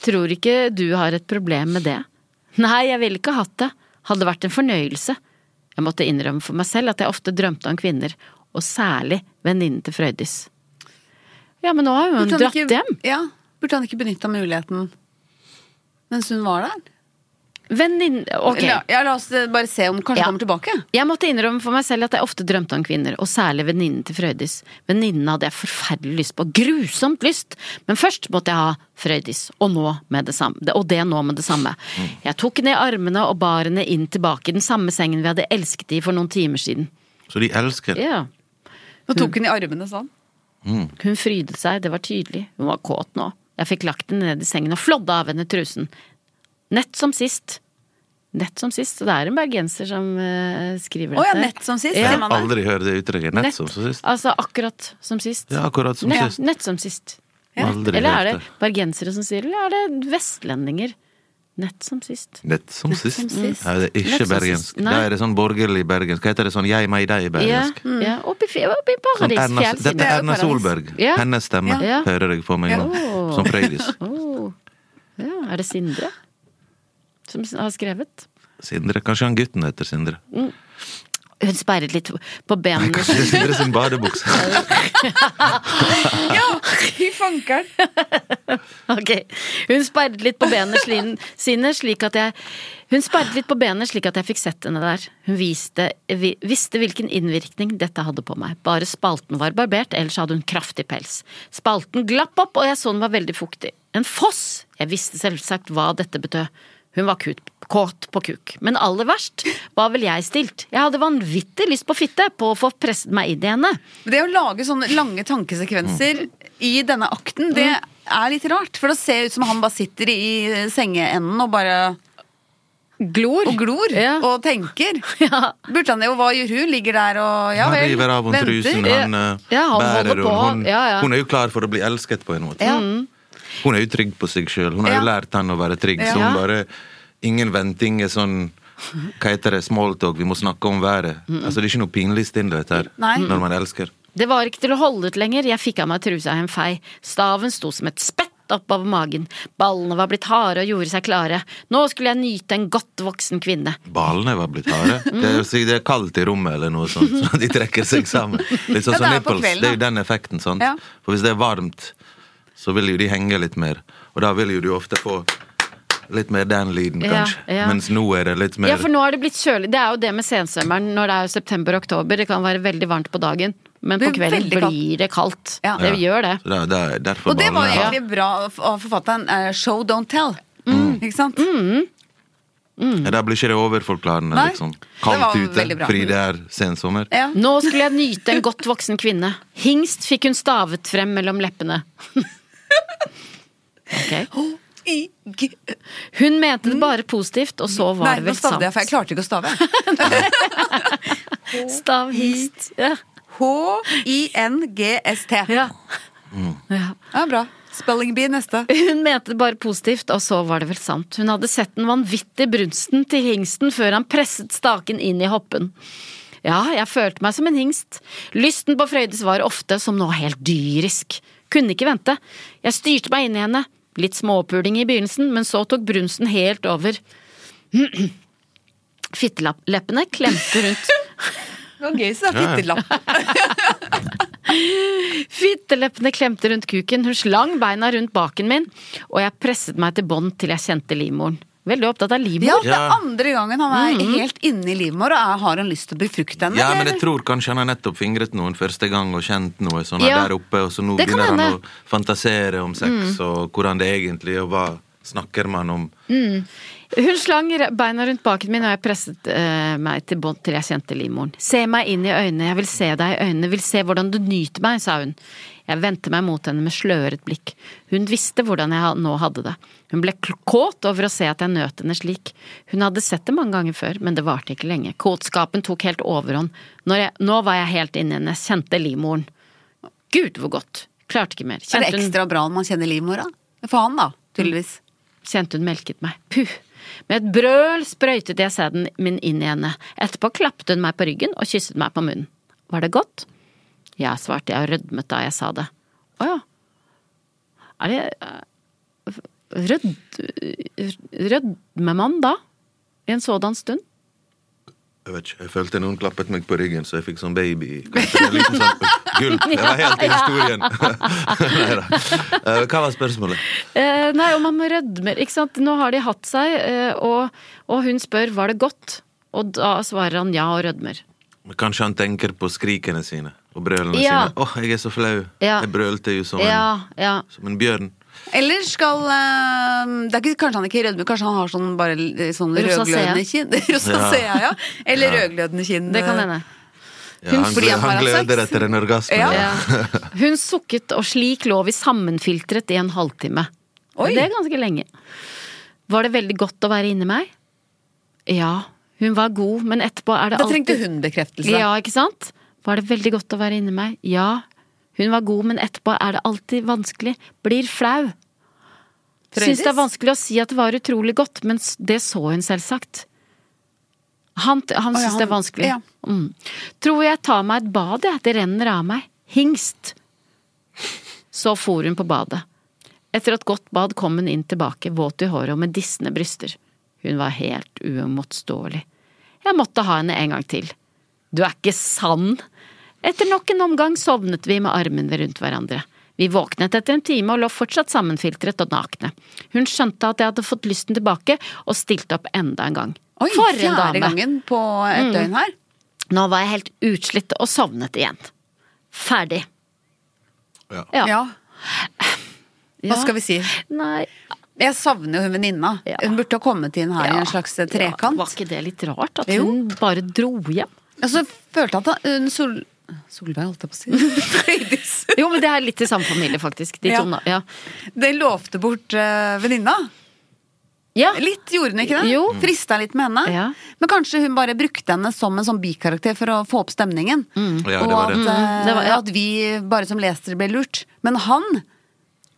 B: Tror ikke du har et problem med det. Nei, jeg ville ikke hatt det. Hadde vært en fornøyelse. Jeg måtte innrømme for meg selv at jeg ofte drømte om kvinner, og særlig venninnen til Frøydis. Ja, men nå har hun
A: Burde han
B: dratt
A: ikke-
B: hjem.
A: Ja, burde han ikke benytta muligheten mens hun var der?
B: Venninne Ok.
A: La, ja, la oss eh, bare se om kanskje
B: Ja.
A: kommer tilbake.
B: Jeg måtte innrømme for meg selv at jeg ofte drømte om kvinner, og særlig venninnen til Frøydis. Venninnen hadde jeg forferdelig lyst på, grusomt lyst, men først måtte jeg ha Frøydis, og, nå med det samme, og det nå med det samme. Jeg tok henne i armene og bar henne inn tilbake i den samme sengen vi hadde elsket i for noen timer siden.
D: Så de elsker det.
B: Ja.
A: Nå tok hun i armene sånn.
B: Hun frydet seg, det var tydelig. Hun var kåt nå. Jeg fikk lagt henne ned i sengen og flådde av henne trusen. Nett som sist. Nett som sist. Så det er en bergenser som eh, skriver
A: Å ja,
B: dette.
A: nett som sist.
B: Ja.
A: sier
D: Jeg
A: man
D: har
A: der.
D: aldri hørt det uttrykket. Nett som sist.
B: Altså akkurat som sist.
D: Ja, akkurat som
B: nett,
D: sist.
B: Nett som sist.
D: Aldri
B: eller er det
D: hørt det.
B: bergensere som sier det, eller er det vestlendinger? Nett som sist.
D: Nett som sist.
A: sist.
D: Ja, det
B: Nett
D: er ikke
B: som
D: bergensk.
B: sist. Nei.
D: Da er det sånn borgerlig bergensk. Hva heter det sånn jeg, meg, deg
B: Ja, mm.
D: bergensk?
B: ja. Oppi, fj- oppi
D: Sånn
B: Paris,
D: Erna,
A: Det
D: dette
B: fjellsiden.
A: er
D: er
A: jo
D: Erna
A: paradis.
D: Solberg.
B: Ja.
D: Hennes stemme
B: Ja.
D: hører jeg på meg nå.
B: Ja.
D: Som Frøydis.
B: Oh. Ja, er det Sindre som s- har skrevet?
D: Sindre. Kanskje han gutten heter Sindre.
B: Mm. Hun sperret litt på benene.
D: Kanskje det er Sindre sin badebukse.
B: *laughs*
A: Fy fankeren!
B: *laughs* Ok. Hun sperret litt på benene slin- sine, slik at jeg Hun sperret litt på benene slik at jeg fikk sett henne der. Hun viste, vi, visste hvilken innvirkning dette hadde på meg. Bare spalten var barbert, ellers hadde hun kraftig pels. Spalten glapp opp, og jeg så den var veldig fuktig. En foss! Jeg visste selvsagt hva dette betød. Hun var kut, kåt på kuk. Men aller verst var vel jeg stilt. Jeg hadde vanvittig lyst på fitte, på å få presset meg inn i henne.
A: Det å lage sånne lange tankesekvenser i denne akten, det
B: Mm.
A: er litt rart. For det ser ut som han bare sitter i sengeenden og bare
B: Glor.
A: og glor
B: Ja.
A: og tenker.
B: *laughs* Ja.
A: Burde han det, og hva gjør hun? Ligger der og ja
D: han
A: vel,
D: river av henne trusen,
A: venter.
D: han, eh,
B: Ja, han holder
D: bærer
B: på.
D: henne. Hun,
B: Ja, ja.
D: hun er jo klar for å bli elsket, på en måte. Hun er jo trygg på seg sjøl. Hun har jo
A: Ja.
D: lært han å være trygg. Så
B: Ja.
D: hun bare Ingen venting er sånn Hva heter det? Smalltalk. Vi må snakke om været.
B: Mm.
D: Altså, det er ikke noe pinlig stillhet her
A: Nei.
D: når man elsker.
B: Det var ikke til å holde ut lenger, jeg fikk av meg trusa i en fei. Staven sto som et spett oppover magen, ballene var blitt harde og gjorde seg klare. Nå skulle jeg nyte en godt voksen kvinne.
D: Ballene var blitt harde.
A: *laughs*
D: Det er, jo sikkert det er kaldt i rommet, eller noe sånt, så de trekker seg sammen. Litt sånn
A: Ja,
D: som
A: det er på
D: nipples.
A: kvelden,
D: Det er jo
A: da.
D: den effekten. sant?
A: Ja.
D: For hvis det er varmt, så vil jo de henge litt mer. Og da vil jo du ofte få litt mer den lyden,
B: Ja,
D: kanskje.
B: ja.
D: Mens nå er det litt mer
B: Ja, for nå er det blitt kjølig. Det er jo det med sensommer'n når det er september og oktober. Det kan være veldig varmt på dagen, men på
A: Det blir
B: kvelden
A: veldig kaldt.
B: blir det kaldt.
A: Ja.
B: Det gjør det.
D: Så det er- det er derfor
A: Og det var jo
D: ballene er harde.
A: egentlig bra av forfatteren. eh, Show, don't tell.
D: Mm.
A: Mm. Ikke sant?
B: Mm.
D: Ja, Der blir ikke det overforklarende,
A: Nei.
D: liksom.
A: var
D: Kaldt
A: veldig
D: ute
A: bra.
D: fordi det er sensommer.
A: Ja.
B: Nå skulle jeg nyte en godt voksen kvinne. Hingst fikk hun stavet frem mellom leppene. *laughs* Ok.
A: I- g-
B: Hun mente det bare positivt, og så var
A: Nei,
B: det
A: nå
B: vel sant.
A: stavde jeg, for jeg klarte ikke å stave.
B: Stav hingst. Ja.
A: H-i-n-g-s-t.
B: Ja.
A: Ja, bra. Spelling bee neste.
B: Hun mente det bare positivt, og så var det vel sant. Hun hadde sett den vanvittige brunsten til hingsten før han presset staken inn i hoppen. Ja, jeg følte meg som en hingst. Lysten på Frøydis var ofte som noe helt dyrisk. Kunne ikke vente. Jeg styrte meg inn i henne. Litt småpuling i begynnelsen, men så tok brunsten helt over. *clears throat* Fitteleppene klemte rundt
A: Det var gøy, så det er fittelapp.
B: Fitteleppene klemte rundt kuken, hun slang beina rundt baken min, og jeg presset meg til bånd til jeg kjente livmoren. Veldig opptatt av
A: Ja,
B: livmor.
A: det er andre gangen han er helt inne i livmor, og er- har han lyst til å befrukte henne?
D: Ja, men
A: eller?
D: jeg tror kanskje han har nettopp fingret noen første gang og kjent noe sånn
B: Ja.
D: der oppe, og så nå
B: Det kan
D: begynner han å
B: hende. Mm.
D: fantasere om sex og hvordan det egentlig er, og hva snakker man om.
B: Hun slang re- beina rundt baken min, og jeg presset eh, meg til bånd til jeg kjente livmoren. Se meg inn i øynene, jeg vil se deg i øynene, vil se hvordan du nyter meg, sa hun. Jeg vendte meg mot henne med sløret blikk. Hun visste hvordan jeg ha- nå hadde det. Hun ble kl- kåt over å se at jeg nøt henne slik. Hun hadde sett det mange ganger før, men det varte ikke lenge. Kåtskapen tok helt overhånd. Når jeg, nå var jeg helt inne i henne, kjente livmoren. Gud, hvor godt. Klarte ikke mer.
A: Er det
B: Kjente hun-
A: ekstra bra når man kjenner livmora? For han, da. Tydeligvis.
B: kjente hun melket meg. Puh! Med et brøl sprøytet jeg sæden min inn i henne. Etterpå klappet hun meg på ryggen og kysset meg på munnen. Var det godt? Ja, svarte jeg og rødmet da jeg sa det. Å ja. Er det eh, rød, eh, Rødmer man da? I en sådan stund?
D: Jeg vet ikke, jeg følte noen klappet meg på ryggen, så jeg fikk sånn baby.
B: *laughs*
D: Kanskje en liten sånn gulp. Det var helt i historien. Neida. Eh, Hva var spørsmålet?
B: Eh, nei, og man rødmer, ikke sant. Nå har de hatt seg, eh, og, og hun spør var det godt? Og da svarer han ja og rødmer.
D: Men Kanskje han tenker på skrikene sine og brølene
B: Ja.
D: sine. Åh, jeg er så flau.
B: Ja.
D: Jeg brølte jo som, en,
B: Ja, ja.
D: som en bjørn.
A: Eller skal eh, det er ikke, Kanskje han ikke rødmer, kanskje han har sånn, bare, eh, sånn
B: Rosacea.
A: rødglødende kinn? *laughs* Rosacea, ja. Eller rødglødende kinn. eh.
B: Det kan hende.
D: Ja, han,
A: fordi
D: glø-
A: han har
D: han
A: hatt sex.
D: gløder etter en orgasme.
A: Ja.
D: da.
B: Ja. Hun sukket, og slik lå vi sammenfiltret i en halvtime.
A: Oi.
B: Det er ganske lenge. Var det veldig godt å være inni meg? Ja. Hun var god, men etterpå er det
A: Da
B: alltid
A: trengte hun bekreftelse.
B: Ja, ikke sant? Var det veldig godt å være inni meg? Ja. Hun var god, men etterpå er det alltid vanskelig. Blir flau.
A: Frøydis?
B: Syns det er vanskelig å si at det var utrolig godt, men s- det så hun selvsagt. Han, han
A: Å, ja,
B: syns det er
A: han-
B: vanskelig.
A: ja.
B: Mm. Tror jeg tar meg et bad, jeg. Det renner av meg. Hingst. Så for hun på badet. Etter et godt bad kom hun inn tilbake, våt i håret og med dissende bryster. Hun var helt uimotståelig. Jeg måtte ha henne en gang til. Du er ikke sann! Etter nok en omgang sovnet vi med armene rundt hverandre. Vi våknet etter en time og lå fortsatt sammenfiltret og nakne. Hun skjønte at jeg hadde fått lysten tilbake, og stilte opp enda en gang.
A: Oi,
B: For en
A: fjerde
B: dame! Mm.
A: gangen på et døgn her.
B: Nå var jeg helt utslitt og sovnet igjen. Ferdig.
D: Ja.
A: Ja. Hva skal vi si?
B: Nei,
A: Jeg savner jo hun venninna.
B: Ja.
A: Hun burde ha kommet inn her i en slags eh,
B: Ja,
A: trekant.
B: var ikke det litt rart? At
A: Jo.
B: hun bare dro hjem?
A: Og så Altså, følte jeg at hun Sol... Solveig, holdt jeg på å si. *laughs* Frøydis.
B: Jo, men det er litt i samme familie, faktisk. De
A: Ja.
B: to, na- ja.
A: Det lovte bort eh, venninna.
B: ja.
A: Litt gjorde hun ikke det?
B: Jo.
A: Frista litt med henne.
B: Ja.
A: Men kanskje hun bare brukte henne som en sånn bikarakter for å få opp stemningen.
D: Ja,
A: Og
D: det var
A: at,
D: det.
A: eh,
B: Det var- ja.
A: at vi bare som lesere ble lurt. Men han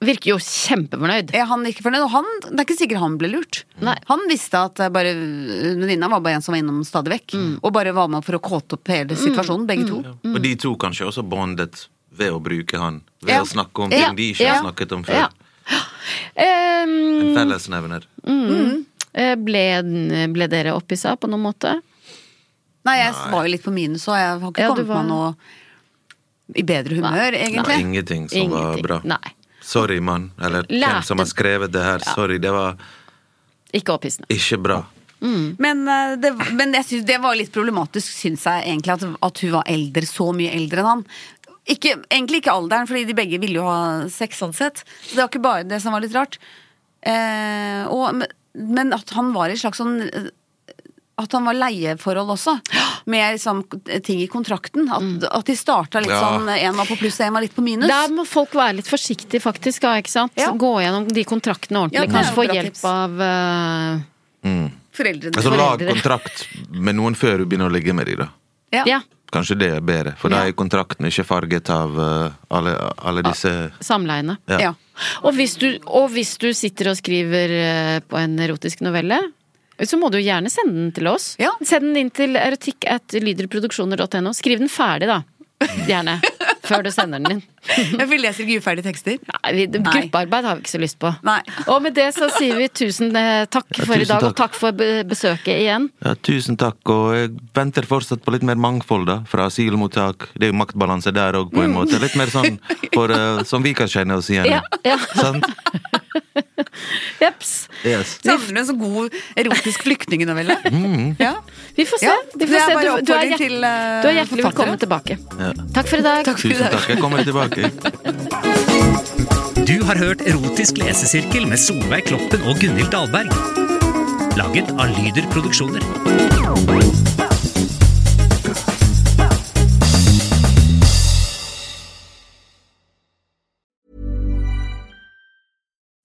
B: Virker jo kjempefornøyd.
A: er han ikke fornøyd. Og han, det er ikke sikkert han ble lurt.
B: Nei.
A: Han visste at eh, bare venninna var bare en som var innom stadig vekk. Og bare var med for å kåte opp hele situasjonen, begge to.
D: Og de to kanskje også bondet ved å bruke han. Ved
A: Ja.
D: å snakke om
A: Ja.
D: ting de ikke har
A: Ja.
D: snakket om
B: Ja.
D: før.
B: Ehm,
D: En fellesnevner.
A: Mm.
B: eh, ble, ble dere opphissa på noen måte?
A: Nei, jeg var jo litt på minus òg. Jeg har ikke
B: Ja, du
A: kommet
B: var-
A: meg noe i bedre humør,
D: Det var
A: egentlig.
D: ingenting som var bra.
B: Nei.
D: Sorry, mann. Eller hvem
B: Lærte-
D: som har skrevet det her. Sorry, det var
B: Ikke opphissende.
D: ikke bra.
A: Men, eh, det, men jeg synes det var litt problematisk, syns jeg egentlig, at, at hun var eldre, så mye eldre enn han. Ikke, egentlig ikke alderen, fordi de begge ville jo ha sex, sånn sett. Så det var ikke bare det som var litt rart. Eh, og, men- men at han var i et slags sånn eh, At han var leieforhold også, med liksom ting i kontrakten. At,
B: Mm.
A: at de starta litt
D: Ja.
A: sånn én var på pluss, én var litt på minus.
B: Der må folk være litt forsiktige, faktisk. da, Ikke sant?
A: Ja.
B: Gå gjennom de kontraktene
A: Ja,
B: ordentlig.
A: det er
B: Kanskje
A: jo
B: få
A: bra
B: hjelp
A: tips.
B: av eh,
A: Foreldrene.
D: Altså, lag
B: Foreldre.
D: kontrakt med noen før du begynner å ligge med dem, da.
A: Ja.
B: ja,
D: Kanskje det er bedre, for da er kontrakten ikke farget av eh, alle, alle disse
B: samleiene.
D: Ja.
A: Ja.
B: Og hvis, du, og hvis du sitter og skriver eh, på en erotisk novelle, så må du gjerne sende den til oss.
A: Ja.
B: Send den inn til erotikk at lyderproduksjoner.no. Skriv den ferdig, da.
A: *laughs*
B: Gjerne. Før du sender den inn.
A: Ja, Vi leser ikke uferdige tekster.
B: Nei, vi,
A: Nei.
B: Gruppearbeid har vi ikke så lyst på.
A: Nei.
B: Og med det så sier vi tusen eh, takk for
D: tusen
B: i dag, og
D: takk.
B: takk for be- besøket igjen.
D: Ja, tusen takk, og jeg venter fortsatt på litt mer mangfold, da. Fra asylmottak. Det er jo maktbalanse der òg, på en måte. Litt mer sånn for, eh, som vi kan kjenne oss igjen i.
B: Mm. Ja, ja.
D: Sant?
B: *laughs* Jeps. *laughs*
D: Yes.
A: Savner du en så god erotisk flyktningenovelle?
D: Mm.
A: Ja.
B: Vi får se.
A: Ja,
B: Vi får
A: det er
B: se.
A: bare
B: Du, du, er
A: oppfordring
B: hjert-
A: til, eh,
B: du er hjertelig velkommen
A: forfattere.
B: tilbake. Takk for i dag.
D: Tusen takk. Jeg kommer tilbake.
E: Du har hørt Erotisk lesesirkel med Solveig Kloppen og Gunhild Dahlberg. Laget av Lyder Produksjoner.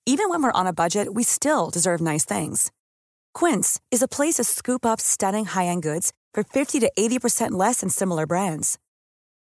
F: even when we're on a budget, we still deserve nice things. Quince is a place to scoop up stunning high-end goods for 50 to 80% less than similar brands.